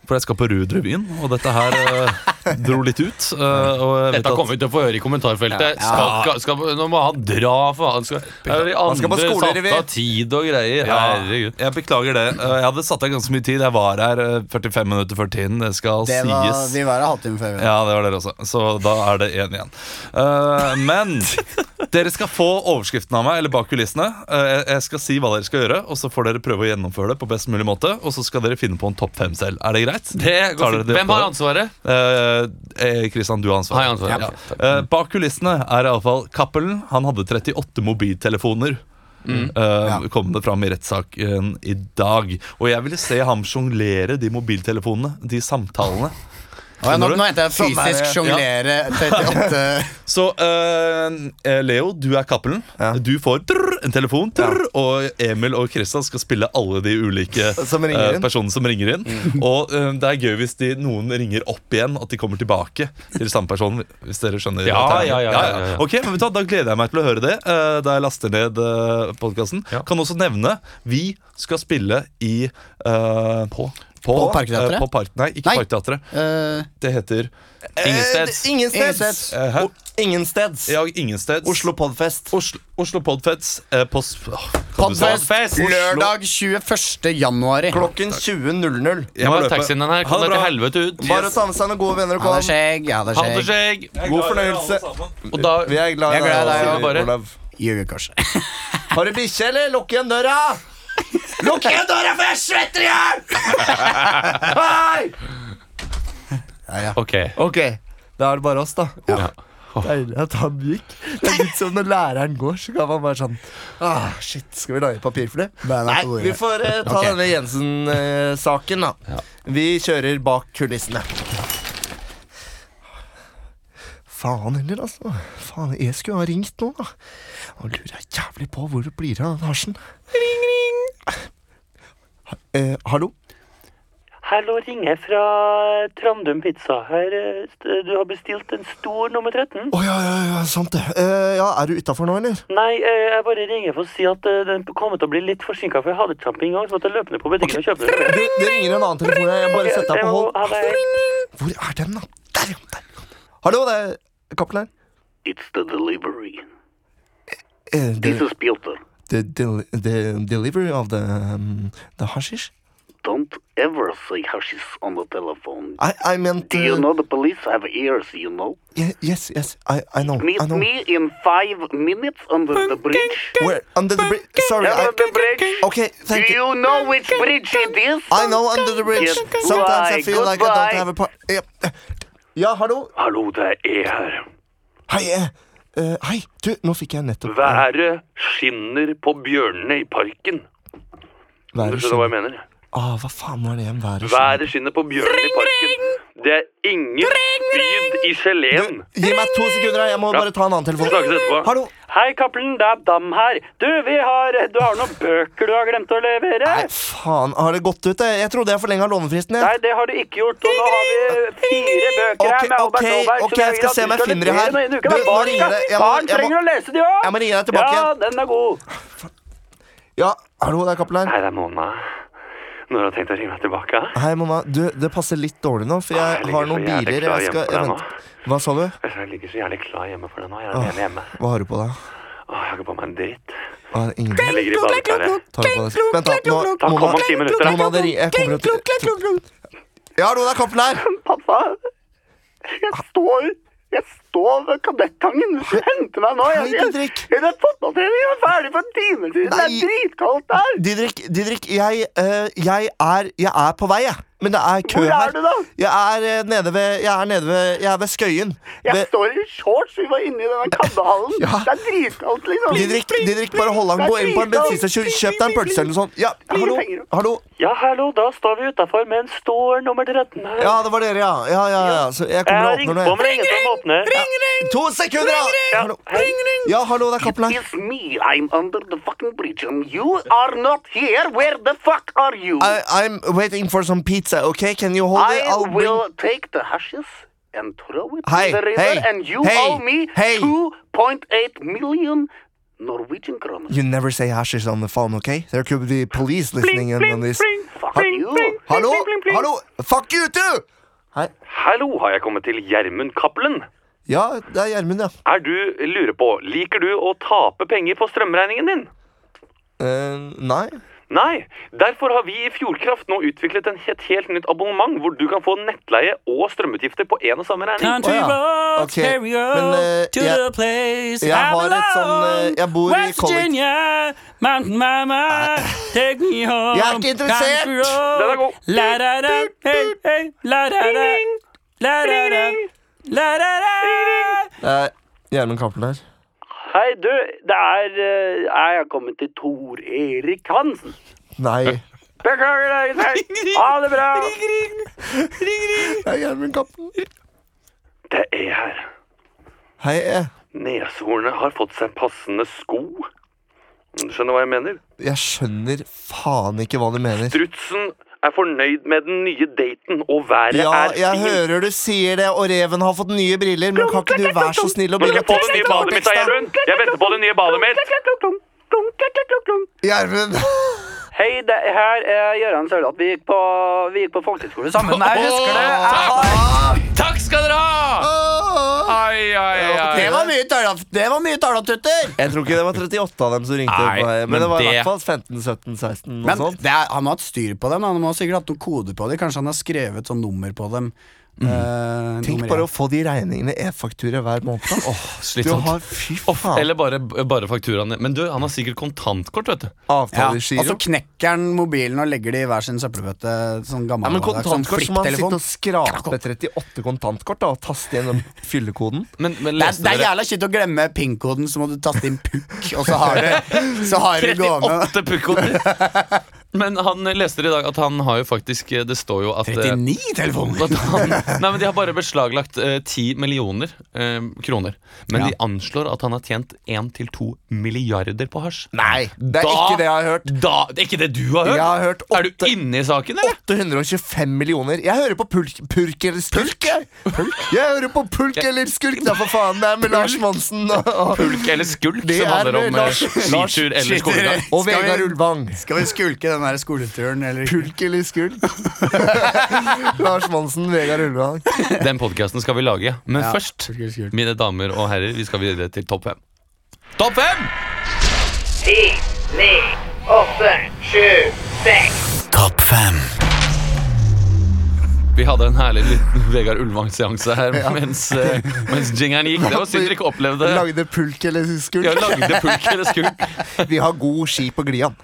Speaker 1: For jeg skal på Rudrevyen, og dette her eh, dro litt ut. eh, og jeg vet
Speaker 3: Dette
Speaker 1: at-
Speaker 3: kommer vi til å få høre i kommentarfeltet.
Speaker 1: Ja.
Speaker 3: Skal, ikke- skal, nå må han dra, faen. Skal, er det
Speaker 1: Han skal på
Speaker 3: andre
Speaker 1: skolerevy.
Speaker 3: satt av tid og greier.
Speaker 1: Ja,
Speaker 3: Herregud.
Speaker 1: jeg beklager det. Eh, Jeg hadde satt av ganske mye tid. Jeg var her eh, 45 minutter før tiden. Det skal
Speaker 4: Det var,
Speaker 1: sies.
Speaker 4: vi var her halvtime før. vi var.
Speaker 1: Ja, det var dere også. Så da er det én igjen. Eh, men dere skal få overskriften av meg, eller bak kulissene. Eh, jeg- jeg skal si hva dere skal gjøre, og så får dere prøve å gjennomføre det på best mulig måte. Og så skal dere finne på en topp fem selv. Er det greit?
Speaker 3: Det
Speaker 1: Tar
Speaker 3: går
Speaker 1: dere
Speaker 3: fint. Hvem
Speaker 1: på
Speaker 3: har
Speaker 1: det?
Speaker 3: ansvaret?
Speaker 1: Eh, eh, Kristian, du har ansvaret.
Speaker 3: Har jeg ansvaret?
Speaker 1: Ja.
Speaker 3: Ok, takk.
Speaker 1: Eh, bak kulissene er iallfall Cappelen. Han hadde 38 mobiltelefoner.
Speaker 3: Mm.
Speaker 1: Eh, Kom det fram i rettssaken i dag. Og jeg ville se ham sjonglere de mobiltelefonene, de samtalene.
Speaker 4: Å, ja, nå,
Speaker 1: Skjønner du?
Speaker 4: nå henter jeg
Speaker 1: Sånn er
Speaker 4: fysisk
Speaker 1: det.
Speaker 4: sjonglere
Speaker 1: Ja.
Speaker 4: 38
Speaker 1: Så eh, Leo, du er Cappelen. Du får trrr, en telefon, trrr, og Emil og Kristian skal spille alle de ulike
Speaker 2: Som ringer
Speaker 1: eh,
Speaker 2: inn.
Speaker 1: personene som ringer inn. Og eh, det er gøy hvis de, noen ringer opp igjen, at de kommer tilbake til samme person. Hvis dere skjønner
Speaker 3: Ja,
Speaker 1: at det er-
Speaker 3: ja, ja, ja, ja, ja.
Speaker 1: Ok, men vet du, hva, Da gleder jeg meg til å høre det eh, da jeg laster ned uh, podkasten. Kan også nevne vi skal spille i eh, På?
Speaker 4: På Parkteatret?
Speaker 1: eh, på Park- nei, ikke
Speaker 4: Nei.
Speaker 1: Parkteatret. Det heter
Speaker 2: Ingensteds. Ingensteds.
Speaker 1: Eh, hæ?
Speaker 2: Ingensteds.
Speaker 1: Ja, ingensteds.
Speaker 2: Oslo Podfest.
Speaker 1: Oslo, Oslo Podfest eh, på s- åh, kan du si-
Speaker 4: Podfest
Speaker 1: Oslo-
Speaker 4: Eh, lørdag 21. januari.
Speaker 2: Klokken 20.00.
Speaker 1: Jeg må løpe. Ha det bra.
Speaker 2: Bare ta med seg noen gode venner og kom.
Speaker 4: Ha det skjegg. Ha det
Speaker 3: Ha det,
Speaker 4: skjegg.
Speaker 3: skjegg.
Speaker 2: God fornøyelse.
Speaker 3: Og da
Speaker 2: Vi er glad
Speaker 4: Jeg er glad i deg,
Speaker 2: Sier
Speaker 4: ja.
Speaker 3: bare.
Speaker 2: Olav.
Speaker 4: Jugekorset.
Speaker 2: Har du bikkje, eller? Lukk igjen døra! Lukk igjen døra, for jeg svetter i hjel! Hei!
Speaker 3: Ok.
Speaker 2: Ok, da er det bare oss, da. Deilig at han gikk. Det er litt som når læreren går, så kan man bare sånn ah, Shit, skal vi lage papir for det? Nei, vi får eh, ta
Speaker 4: Ok.
Speaker 2: denne Jensen-saken, da. Vi kjører bak kulissene. Faen heller, altså. Faen, jeg skulle ha ringt nå, da. Nå lurer jeg jævlig på hvor det blir av den hasjen. Ring, ring. Eh, hallo?
Speaker 8: Hallo, ringer fra Trandum Pizza. Her, eh, st- du har bestilt en stor nummer 13.
Speaker 2: Å ja, ja, ja, sant det. Eh, ja, er du utafor nå, eller?
Speaker 8: Nei, eh, jeg bare ringer for å si at eh, den kommer til å bli litt forsinka, for jeg hadde kjampe i gang, så måtte jeg løpe ned på butikken og kjøpe den.
Speaker 2: Det, det ringer en annen telefon. Jeg bare
Speaker 8: Ok,
Speaker 2: setter deg
Speaker 8: jeg
Speaker 2: på
Speaker 8: må-
Speaker 2: hold.
Speaker 8: ha det.
Speaker 2: Hvor er den, da? Der, ja. Der. Hallo, det er Cappelen.
Speaker 8: It's the delivery.
Speaker 2: Eh, det-
Speaker 8: is Peter.
Speaker 2: The, del- the delivery of the, um, the hashish?
Speaker 8: Don't ever say hushes on the telephone.
Speaker 2: I, I meant uh,
Speaker 8: the police have ears, you know?
Speaker 2: ye- Yes, yes, I, I know. I know.
Speaker 8: in five minutes under the bridge.
Speaker 2: Where? Under the bridge? Sorry. I,
Speaker 8: bridge.
Speaker 2: okay, thank you.
Speaker 8: know which bridge it is?
Speaker 2: I know under the bridge.
Speaker 8: Goodbye,
Speaker 2: Sometimes I feel like I don't
Speaker 8: goodbye.
Speaker 2: have a part. Yep. Ja, hallo?
Speaker 8: Hallo, det er her.
Speaker 2: Hei, eh, eh, hei. Du, nå fikk jeg nettopp eh,
Speaker 8: Været skinner på bjørnene i parken. Du skjønner hva jeg mener?
Speaker 2: Ah, hva faen var det igjen? Været
Speaker 8: Været skinner på bjørnene i parken. Det er ingen spyd i geleen.
Speaker 2: Gi meg to sekunder, jeg må
Speaker 8: Ja.
Speaker 2: bare ta en annen
Speaker 8: Vi
Speaker 2: telefon.
Speaker 8: snakkes etterpå.
Speaker 2: Hallo?
Speaker 8: Hei, Cappelen. Det er Dam her. Du, vi har, du har noen bøker du har glemt å levere.
Speaker 2: Nei, faen, har det gått ut? Jeg, jeg trodde jeg forlenga lånefristen.
Speaker 8: Nei,
Speaker 2: Jeg.
Speaker 8: det har du ikke gjort. Og nå har vi fire bøker her
Speaker 2: Ok,
Speaker 8: med Albert
Speaker 2: ok,
Speaker 8: Aaberg.
Speaker 2: ok, jeg skal se om jeg finner det her.
Speaker 8: Du,
Speaker 2: Du, nå
Speaker 8: barn,
Speaker 2: ringer
Speaker 8: skal,
Speaker 2: det. Jeg må-
Speaker 8: barn
Speaker 2: jeg må-
Speaker 8: trenger å lese de òg.
Speaker 2: Jeg må ringe deg tilbake
Speaker 8: Ja,
Speaker 2: igjen.
Speaker 8: den er god.
Speaker 2: Ja, hallo, det er Kappelæren.
Speaker 8: Hei, det er Mona. Når har du tenkt å ringe meg tilbake?
Speaker 2: Hei, mamma. Du, det passer litt dårlig nå, for
Speaker 8: Ah, jeg
Speaker 2: jeg
Speaker 8: ligger
Speaker 2: har
Speaker 8: så
Speaker 2: noen
Speaker 8: jævlig
Speaker 2: biler
Speaker 8: klar
Speaker 2: jeg
Speaker 8: hjemme
Speaker 2: skal
Speaker 8: for deg nå.
Speaker 2: event... Hva sa du?
Speaker 8: Altså, Jeg ligger så jævlig klar hjemme for deg nå. Jeg er
Speaker 2: Åh,
Speaker 8: alene hjemme.
Speaker 2: Hva har du på deg?
Speaker 8: Åh, jeg har ikke på meg en dritt.
Speaker 2: Ah, ingen
Speaker 8: Jeg ligger i badekaret.
Speaker 2: Tar du på deg Vent, da.
Speaker 8: Da
Speaker 2: Nå,
Speaker 8: kom om ti minutter, da.
Speaker 2: Mona, det ringer. Jeg kommer til Ja, hallo, det er Kappelæren.
Speaker 8: Pappa, jeg står Jeg står ved Kadettangen. Du skal hente meg nå.
Speaker 2: Hei, Didrik.
Speaker 8: jeg, jeg, fotballtreningen er ferdig for en time siden.
Speaker 2: Nei.
Speaker 8: dritkaldt der.
Speaker 2: Didrik, Didrik jeg, eh, jeg, er, jeg er på vei, jeg. Men det er kø
Speaker 8: Hvor
Speaker 2: her.
Speaker 8: er du da?
Speaker 2: Jeg er eh, nede ved Jeg er nede ved, jeg er ved Skøyen. Ved-
Speaker 8: står i shorts. Vi var inne i denne kaddehallen.
Speaker 2: Ja.
Speaker 8: Det er dritkaldt, liksom.
Speaker 2: Didrik, Didrik, bare hold han
Speaker 8: Det er
Speaker 2: gå inn på en
Speaker 8: dritkaldt.
Speaker 2: bensinstasjon. Kjøp deg en pølse eller noe sånt. Ja, hallo, hallo.
Speaker 8: Ja, hallo. Da står vi utafor med en stor nummer 13 her.
Speaker 2: Ja, det var dere, ja. Ja, ja, ja. Så jeg
Speaker 8: jeg
Speaker 2: kommer
Speaker 8: har
Speaker 2: og
Speaker 8: ringt
Speaker 2: åpner
Speaker 8: på,
Speaker 2: nå.
Speaker 8: men det er ingen som åpner.
Speaker 2: jeg. To sekunder, da! Hallo. Ja, hallo, det er Kaplan.
Speaker 8: It's me. I'm under the fucking bridge, and you are not here. Where the fuck are you?
Speaker 2: I- I'm waiting for some pizza, okay? Can you hold it?
Speaker 8: I
Speaker 2: I'll bring
Speaker 8: will take the hashes and throw it
Speaker 2: Hei,
Speaker 8: in the river,
Speaker 2: hei,
Speaker 8: and you
Speaker 2: hei,
Speaker 8: owe me
Speaker 2: hei.
Speaker 8: 2.8 million
Speaker 13: Norwegian kroner.
Speaker 2: You never say hashish on the phone, okay? There could be police listening in on this.
Speaker 13: Fuck
Speaker 2: Ha-
Speaker 13: you.
Speaker 2: Hallo? Hallo? Fuck you, too!
Speaker 13: Hallo, har jeg kommet til Gjermund Cappelen?
Speaker 2: Ja, det er Gjermund, ja.
Speaker 13: Er du, lurer på, liker du å tape penger på strømregningen din?
Speaker 2: Eh, nei.
Speaker 13: Nei, derfor har vi i Fjordkraft nå utviklet en, et helt nytt abonnement hvor du kan få nettleie og strømutgifter på en og samme regning.
Speaker 2: Å, ja. Ok, Men eh, jeg,
Speaker 13: place
Speaker 2: jeg har et sånn eh, Jeg bor i
Speaker 11: West
Speaker 2: kollektiv...
Speaker 11: Virginia, mountain mama, take me home.
Speaker 2: Jeg er ikke interessert.
Speaker 11: country road.
Speaker 2: Den er god.
Speaker 11: La, da, da, hey, hey, la, da, da. La, da, da. La, da, da.
Speaker 2: Det er Gjermund Cappelen her.
Speaker 13: Hei, du, det er eh, Jeg har kommet til Tor Erik Hansen.
Speaker 2: Nei.
Speaker 13: Beklager deg, gutter. Ha det bra.
Speaker 2: Det er Gjermund Cappelen.
Speaker 13: Det er her.
Speaker 2: Hei, eh. jeg,
Speaker 13: Neshornet har fått seg passende sko. Om Du skjønner hva jeg mener?
Speaker 2: jeg skjønner faen ikke hva du mener.
Speaker 13: Strutsen er fornøyd med den nye daten, og været
Speaker 2: Ja,
Speaker 13: er
Speaker 2: jeg
Speaker 13: fint.
Speaker 2: hører du sier det, og reven har fått nye briller, men kan ikke du være så snill å
Speaker 13: Nå skal
Speaker 2: begynne
Speaker 13: jeg
Speaker 2: å
Speaker 13: få det nye
Speaker 2: tekste på
Speaker 13: badet mitt, da,
Speaker 2: teksten?
Speaker 13: Gjermund. Jeg venter på det nye badet mitt.
Speaker 2: Gjermund!
Speaker 4: Hei, det her er Gøran Sørloth. Vi gikk på, vi gikk på folkehøyskole sammen. Nei, jeg husker det.
Speaker 3: eh?
Speaker 4: Jeg har...
Speaker 3: Takk skal dere ha! Ai, ai, ai.
Speaker 4: Det var mye
Speaker 11: tøla- Det var mye tølattutter!
Speaker 2: Jeg tror ikke det var 38 av dem som ringte.
Speaker 3: Nei,
Speaker 2: på, men,
Speaker 3: men
Speaker 2: det var i
Speaker 3: det-
Speaker 2: hvert fall 15-17-16.
Speaker 4: Men det er, han må ha hatt styr på dem. Han må ha sikkert hatt noen koder på dem. Kanskje han har skrevet sånn nummer på dem.
Speaker 1: Mhm.
Speaker 4: Eh,
Speaker 2: Tenk
Speaker 4: nummer
Speaker 2: bare
Speaker 4: én.
Speaker 2: å få de regningene i e-faktura hver måned. da. du
Speaker 3: Slitsomt.
Speaker 2: har fy faen
Speaker 3: Eller bare, bare fakturaene. Men du, han har sikkert kontantkort, vet du.
Speaker 2: altså,
Speaker 4: ja, og
Speaker 2: avtalegiro.
Speaker 4: så knekker han mobilen og legger det i hver sin søppelbøtte. Sånn
Speaker 2: ja,
Speaker 4: gammel
Speaker 2: men kontantkort så må han sitte
Speaker 4: flipptelefon.
Speaker 2: og skrape 38 kontantkort da, og taste igjen den fyllekoden.
Speaker 3: Men, men
Speaker 4: Det er,
Speaker 3: leste
Speaker 4: det er
Speaker 3: dere
Speaker 4: jævla kjipt å glemme PIN-koden, så må du taste inn pukk, og så har du Så har du gående
Speaker 3: 38 pukkoder? Men han leste i dag at han har jo faktisk Det står jo at eh,
Speaker 4: 39 telefoner!
Speaker 3: at han, nei, men De har bare beslaglagt eh, 10 millioner eh, kroner. Men
Speaker 4: Ja.
Speaker 3: de anslår at han har tjent 1-2 milliarder på hasj.
Speaker 2: Nei, det er ikke det jeg har hørt.
Speaker 3: Da, det er ikke det du har hørt?
Speaker 2: Jeg har hørt
Speaker 3: er du inne i saken, eller?
Speaker 2: 825 millioner. Jeg hører på pulk, purk eller skulk, jeg. Jeg hører på pulk eller skulk, da, for faen. Det er med Lars Monsen og, og,
Speaker 3: Pulk eller skulk,
Speaker 2: Det
Speaker 3: som
Speaker 2: er
Speaker 3: handler om eh,
Speaker 2: Lars- Lars-
Speaker 3: skitur eller
Speaker 4: skitur.
Speaker 3: skolegang.
Speaker 2: og
Speaker 4: Skal vi-
Speaker 2: Vegard Ulvang.
Speaker 4: Skal vi skulke den der skoleturen, eller ikke?
Speaker 2: Pulk eller skulk? Lars Monsen, Vegard Ulvang.
Speaker 3: Den podkasten skal vi lage. Men
Speaker 4: Ja,
Speaker 3: først,
Speaker 4: pulk eller skulk.
Speaker 3: mine damer og herrer, vi skal videre til topp fem. Topp fem!
Speaker 6: Ti, ni, åtte, sju, seks.
Speaker 9: Topp fem.
Speaker 3: Vi hadde en herlig liten Vegard Ulvang-seanse her mens, eh, mens jingeren gikk. Det var synd dere ikke opplevde det.
Speaker 2: Lagde pulk eller skulk.
Speaker 3: Jeg lagde pulk eller skulk.
Speaker 2: Vi har god ski på Glian.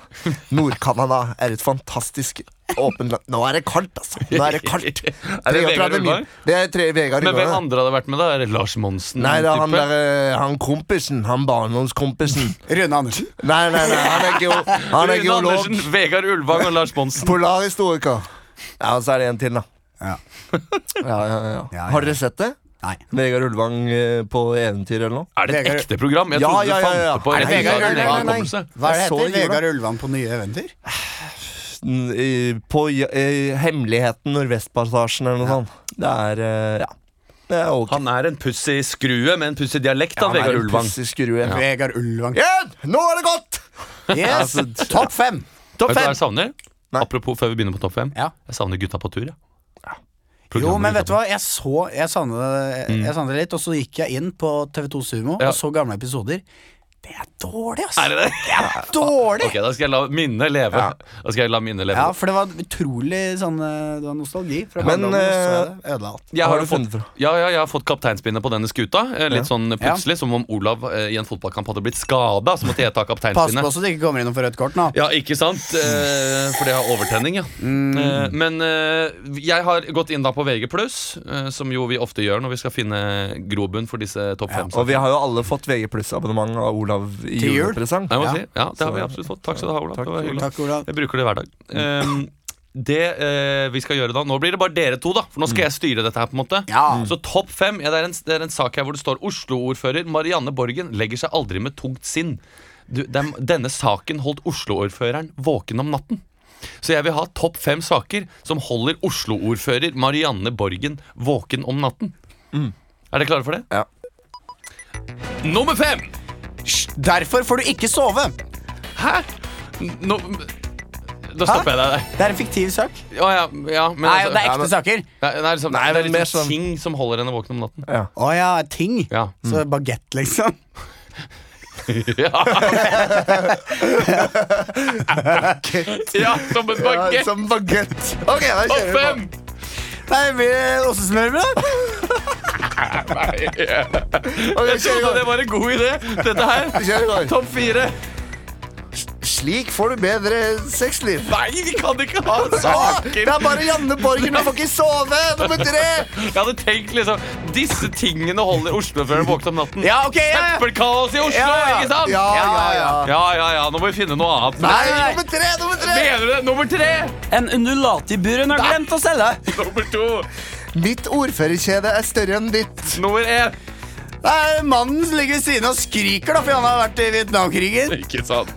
Speaker 2: Nord-Canada er et fantastisk åpent land. Nå er det kaldt, altså. Nå er det kaldt.
Speaker 3: Er det
Speaker 2: 33
Speaker 3: Vegard
Speaker 2: min-
Speaker 3: Ulvang?
Speaker 2: Det er tre Vegard
Speaker 3: Men hvem
Speaker 2: Ulvang. ja.
Speaker 3: andre hadde vært med, da? Er det Lars Monsen?
Speaker 2: Nei, det er han
Speaker 3: type?
Speaker 2: derre Han kompisen. Han barndomskompisen.
Speaker 4: Rune Andersen.
Speaker 2: Nei, nei, nei, han er, geo han er
Speaker 3: Rune
Speaker 2: geolog.
Speaker 3: Andersen, Vegard Ulvang og Lars Monsen.
Speaker 2: Polarhistoriker. Ja, og så er det en til, da.
Speaker 4: Ja.
Speaker 2: Ja, ja, ja.
Speaker 4: ja.
Speaker 2: Har dere sett det?
Speaker 4: Nei.
Speaker 2: Vegard Ulvang eh, på eventyr eller noe?
Speaker 3: Er det et
Speaker 4: Vegard-
Speaker 3: ekte program? Jeg
Speaker 2: Ja,
Speaker 3: trodde
Speaker 2: ja,
Speaker 3: du
Speaker 2: ja, ja.
Speaker 3: fant det på
Speaker 2: Er
Speaker 4: det
Speaker 3: en
Speaker 4: Vegard
Speaker 3: dag, en
Speaker 4: Ulvang? Nei, nei.
Speaker 3: hukommelse.
Speaker 4: Hva er det
Speaker 2: Jeg så
Speaker 4: heter?
Speaker 2: jula.
Speaker 4: Vegard Ulvan på nye eventyr?
Speaker 2: N- i- På ja- eh, Hemmeligheten Nordvestpassasjen eller noe sånt. Det er eh, Ja. Det er ok.
Speaker 3: Han er en pussig skrue med en pussig dialekt, da,
Speaker 2: Han er
Speaker 3: Vegard
Speaker 2: en
Speaker 3: Ulvang.
Speaker 2: pussig skrue.
Speaker 4: Vegard Ulvang.
Speaker 2: Igjen! Nå er det godt!
Speaker 4: Yes! Topp fem!
Speaker 3: Vet
Speaker 2: Topp
Speaker 3: du hva
Speaker 2: fem.
Speaker 3: jeg savner?
Speaker 2: Nei.
Speaker 3: Apropos før vi begynner på topp fem.
Speaker 4: Ja.
Speaker 3: Jeg savner Gutta på tur. Ja.
Speaker 4: Jo,
Speaker 3: Programmet
Speaker 4: men vet du
Speaker 3: Gutta på-
Speaker 4: hva, jeg så Jeg savnet det, jeg savnet det litt, og så gikk jeg inn på TV2 Sumo
Speaker 3: Ja.
Speaker 4: og så gamle episoder. Det er dårlig, ass!
Speaker 3: Er det det?
Speaker 4: er dårlig!
Speaker 3: Ok, Da skal jeg la minnet leve. Da skal Jeg la minnet leve
Speaker 4: Ja, for det var utrolig sånn eh, Det var nostalgi fra
Speaker 2: Men, eh,
Speaker 4: barndommen, og så er det ødela alt.
Speaker 3: jeg
Speaker 2: Hva
Speaker 3: har,
Speaker 2: har
Speaker 3: jo
Speaker 2: du funnet
Speaker 3: fått, ja, ja, jeg har fått kapteinspinnet på denne skuta. eh, Litt sånn plutselig, Som om Olav eh, i en fotballkamp hadde blitt skada. Så måtte jeg ta
Speaker 4: Pass på
Speaker 3: kapteinspinnet.
Speaker 4: så du ikke kommer innom for rødt kort nå.
Speaker 3: Ja, ikke sant? Eh, for det har overtenning, ja.
Speaker 2: Mm.
Speaker 3: Eh, men eh, jeg har gått inn da på VG+, eh, som jo vi ofte gjør når vi skal finne grobunn for disse topp fem.
Speaker 2: Og vi har jo alle fått VG abonnement av Olav i
Speaker 4: Til jul?
Speaker 2: julepresang.
Speaker 3: Jeg må
Speaker 4: Ja.
Speaker 3: si, ja, det har vi absolutt fått. Takk skal du ha, Olav.
Speaker 2: Takk,
Speaker 3: det var hyggelig.
Speaker 4: Takk, Olav.
Speaker 3: Jeg bruker det hver dag. Ehm, det eh, vi skal gjøre da Nå blir det bare dere to, da. For nå
Speaker 8: Mm.
Speaker 3: skal jeg styre dette her. på en måte
Speaker 4: Ja.
Speaker 3: Så topp fem. Ja, det, er en, det er en sak her hvor det står Oslo-ordfører Marianne Borgen legger seg aldri med tungt sinn. Du, dem, denne saken holdt Oslo-ordføreren våken om natten. Så jeg vil ha topp fem saker som holder Oslo-ordfører Marianne Borgen
Speaker 8: Mm.
Speaker 3: våken om natten. Er dere klare for det?
Speaker 2: Ja.
Speaker 3: Nummer fem!
Speaker 8: Hysj! Derfor får du ikke sove.
Speaker 3: Hæ? Nå Da stopper jeg deg der.
Speaker 8: Det er en fiktiv sak.
Speaker 3: Ja, ja, ja, men altså-
Speaker 8: Nei, det er ekte saker.
Speaker 3: Nei, nei, liksom,
Speaker 8: Nei,
Speaker 3: det er liksom
Speaker 8: men mer sånn-
Speaker 3: ting som holder henne våken om natten.
Speaker 8: Å ja. ting. Så
Speaker 3: Mm.
Speaker 8: bagett, liksom.
Speaker 3: ja, som en bagett.
Speaker 8: Ja, som bagett. Ok, da
Speaker 3: Og
Speaker 8: kjører vi på.
Speaker 3: fem!
Speaker 8: Nei, blir det ostesmørbrød?
Speaker 3: Jeg trodde det var en god idé. Dette her. Topp fire.
Speaker 8: Slik får du bedre sexliv.
Speaker 3: Nei, vi kan ikke ha
Speaker 8: Ah,
Speaker 3: saker!
Speaker 8: Det er bare Janne Borgen, han får ikke sove! Nummer tre!
Speaker 3: Jeg hadde tenkt liksom Disse tingene holder Oslo før den våkne om natten.
Speaker 8: Ja, ok, ja, ja.
Speaker 3: Søppelkaos i Oslo,
Speaker 8: Ja, ja.
Speaker 3: ikke sant?
Speaker 8: Ja, ja, ja.
Speaker 3: ja, ja, ja. Nå må vi finne noe annet.
Speaker 8: Nei, nummer tre, nummer tre!
Speaker 3: Mener du det? Nummer tre!
Speaker 8: En undulat i buren har glemt å selge.
Speaker 3: Nummer to.
Speaker 8: Mitt ordførerkjede er større enn ditt.
Speaker 3: Nummer én.
Speaker 8: Nei, mannen som ligger ved siden og skriker da, fordi han har vært i Vietnamkrigen.
Speaker 3: Ikke sant.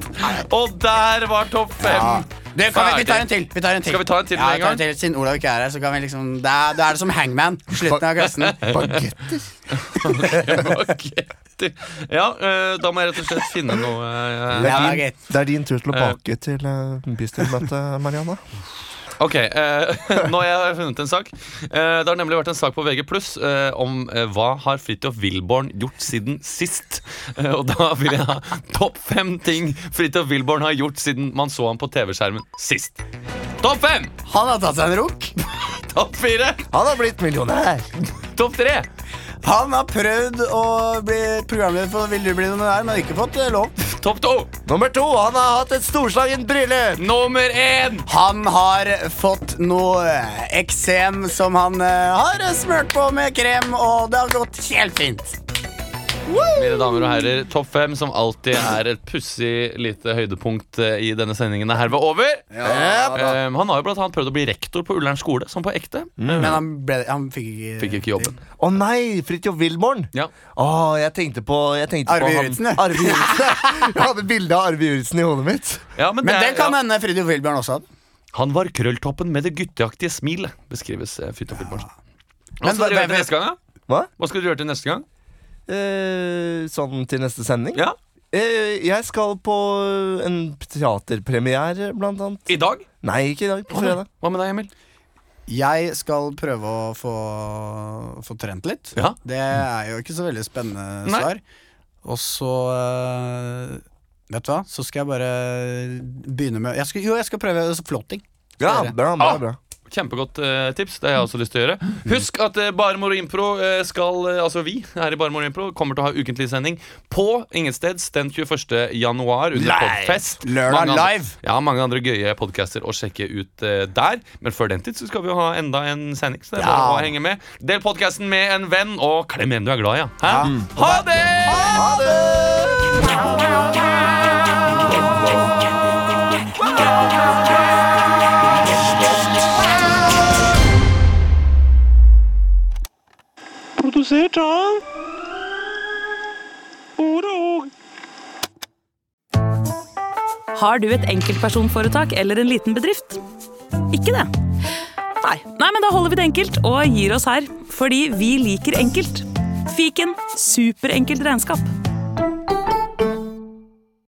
Speaker 3: Og der var topp fem.
Speaker 8: Det kan vi, vi tar
Speaker 3: Ferdig.
Speaker 8: en til. Vi tar en til.
Speaker 3: Skal vi ta en til
Speaker 8: ja,
Speaker 3: med en
Speaker 8: vi tar
Speaker 3: gang?
Speaker 8: til. Siden Olav ikke er her, så kan vi liksom Da er, da er det som hangman. Slutten
Speaker 3: Mm.
Speaker 8: av klassen.
Speaker 3: Bagetter. Bagetter. Ja, eh, da må jeg rett og slett finne noe eh,
Speaker 2: Det er, din, det er din tur til å
Speaker 3: Eh.
Speaker 2: bake til eh, bystyremøtet, Marianne.
Speaker 3: Ok, eh, nå har jeg funnet en sak. Eh, det har nemlig vært en sak på VG Pluss eh, om eh, hva har Fridtjof Wilborn gjort siden sist. Eh, og da vil jeg ha topp fem ting Fridtjof Wilborn har gjort siden man så ham på TV-skjermen sist. Topp fem!
Speaker 8: Han har tatt seg en runk.
Speaker 3: Topp fire!
Speaker 8: Han har blitt millionær.
Speaker 3: Topp tre!
Speaker 8: Han har prøvd å bli programleder for Vil du bli millionær, men ikke fått eh, lov.
Speaker 3: Topp to!
Speaker 8: Nummer to. Han har hatt et storslagent brille.
Speaker 3: Nummer én!
Speaker 8: Han har fått noe eh, eksem som han eh, har smurt på med krem, og det har gått helt fint.
Speaker 3: Mine damer og herrer, topp fem, som alltid er et pussig lite høydepunkt eh, i denne sendingen, er herved over. Eh, han har jo blant annet prøvd å bli rektor på Ullern skole, som på ekte.
Speaker 8: Men han, ble, han fikk ikke
Speaker 3: Fikk ikke jobben.
Speaker 2: Å nei, Fridtjof Wilborn!
Speaker 3: Ja.
Speaker 2: Å, jeg tenkte på, jeg tenkte
Speaker 8: Arve
Speaker 2: på han-
Speaker 8: Juritzen, jeg.
Speaker 2: Arve Juritzen. Jeg hadde bilde av Arve Juritzen i hodet mitt.
Speaker 3: Ja, men
Speaker 8: Men
Speaker 3: det er-
Speaker 8: den kan
Speaker 3: ja.
Speaker 8: hende Fridtjof Wilbjørn også hadde.
Speaker 3: Han var krølltoppen med det gutteaktige smilet, beskrives eh, Fridtjof Wilborn. Hva
Speaker 2: Men
Speaker 3: skal
Speaker 2: hva-
Speaker 3: dere gjøre
Speaker 2: hva-
Speaker 3: til neste gang, da?
Speaker 2: Hva?
Speaker 3: Hva skal dere gjøre til neste gang?
Speaker 2: Eh, sånn til neste sending?
Speaker 3: Ja.
Speaker 2: Eh, jeg skal på en teaterpremiere, blant annet.
Speaker 3: I dag?
Speaker 2: Nei, ikke i dag. På fredag.
Speaker 3: Hva med deg, Emil?
Speaker 4: Jeg skal prøve å få, få trent litt.
Speaker 3: Ja.
Speaker 4: Det er jo ikke så veldig spennende
Speaker 3: Nei.
Speaker 4: svar. Og så
Speaker 8: eh,
Speaker 4: øh, Vet du hva, så skal jeg bare begynne med jeg skal, Jo, jeg skal prøve floating. Skal
Speaker 3: Ja,
Speaker 4: jeg gjøre.
Speaker 3: bra, bra, bra. Kjempegodt eh, tips. Det har jeg også lyst til å gjøre. Husk at uh, Baremor og Impro eh, skal eh, Altså vi her i Baremor og Impro kommer til å ha ukentlig sending på Ingensteds den 21. januar under
Speaker 8: Live!
Speaker 3: Podfest.
Speaker 8: Lørdag
Speaker 3: Mange andre-
Speaker 8: live!
Speaker 3: Ja, mange andre gøye podcaster å sjekke ut eh, der. Men før den tid så skal vi jo ha enda en sending, så det er
Speaker 8: Ja.
Speaker 3: bare å henge med. Del podkasten med en venn, og klem en du er glad i. Ja. Hæ? Ha det!
Speaker 8: Ha det!
Speaker 14: Produsert av Ordet og
Speaker 10: Har du et enkeltpersonforetak eller en liten bedrift? Ikke det? Nei. Nei, men da holder vi det enkelt og gir oss her. Fordi vi liker enkelt. Fiken superenkelt regnskap.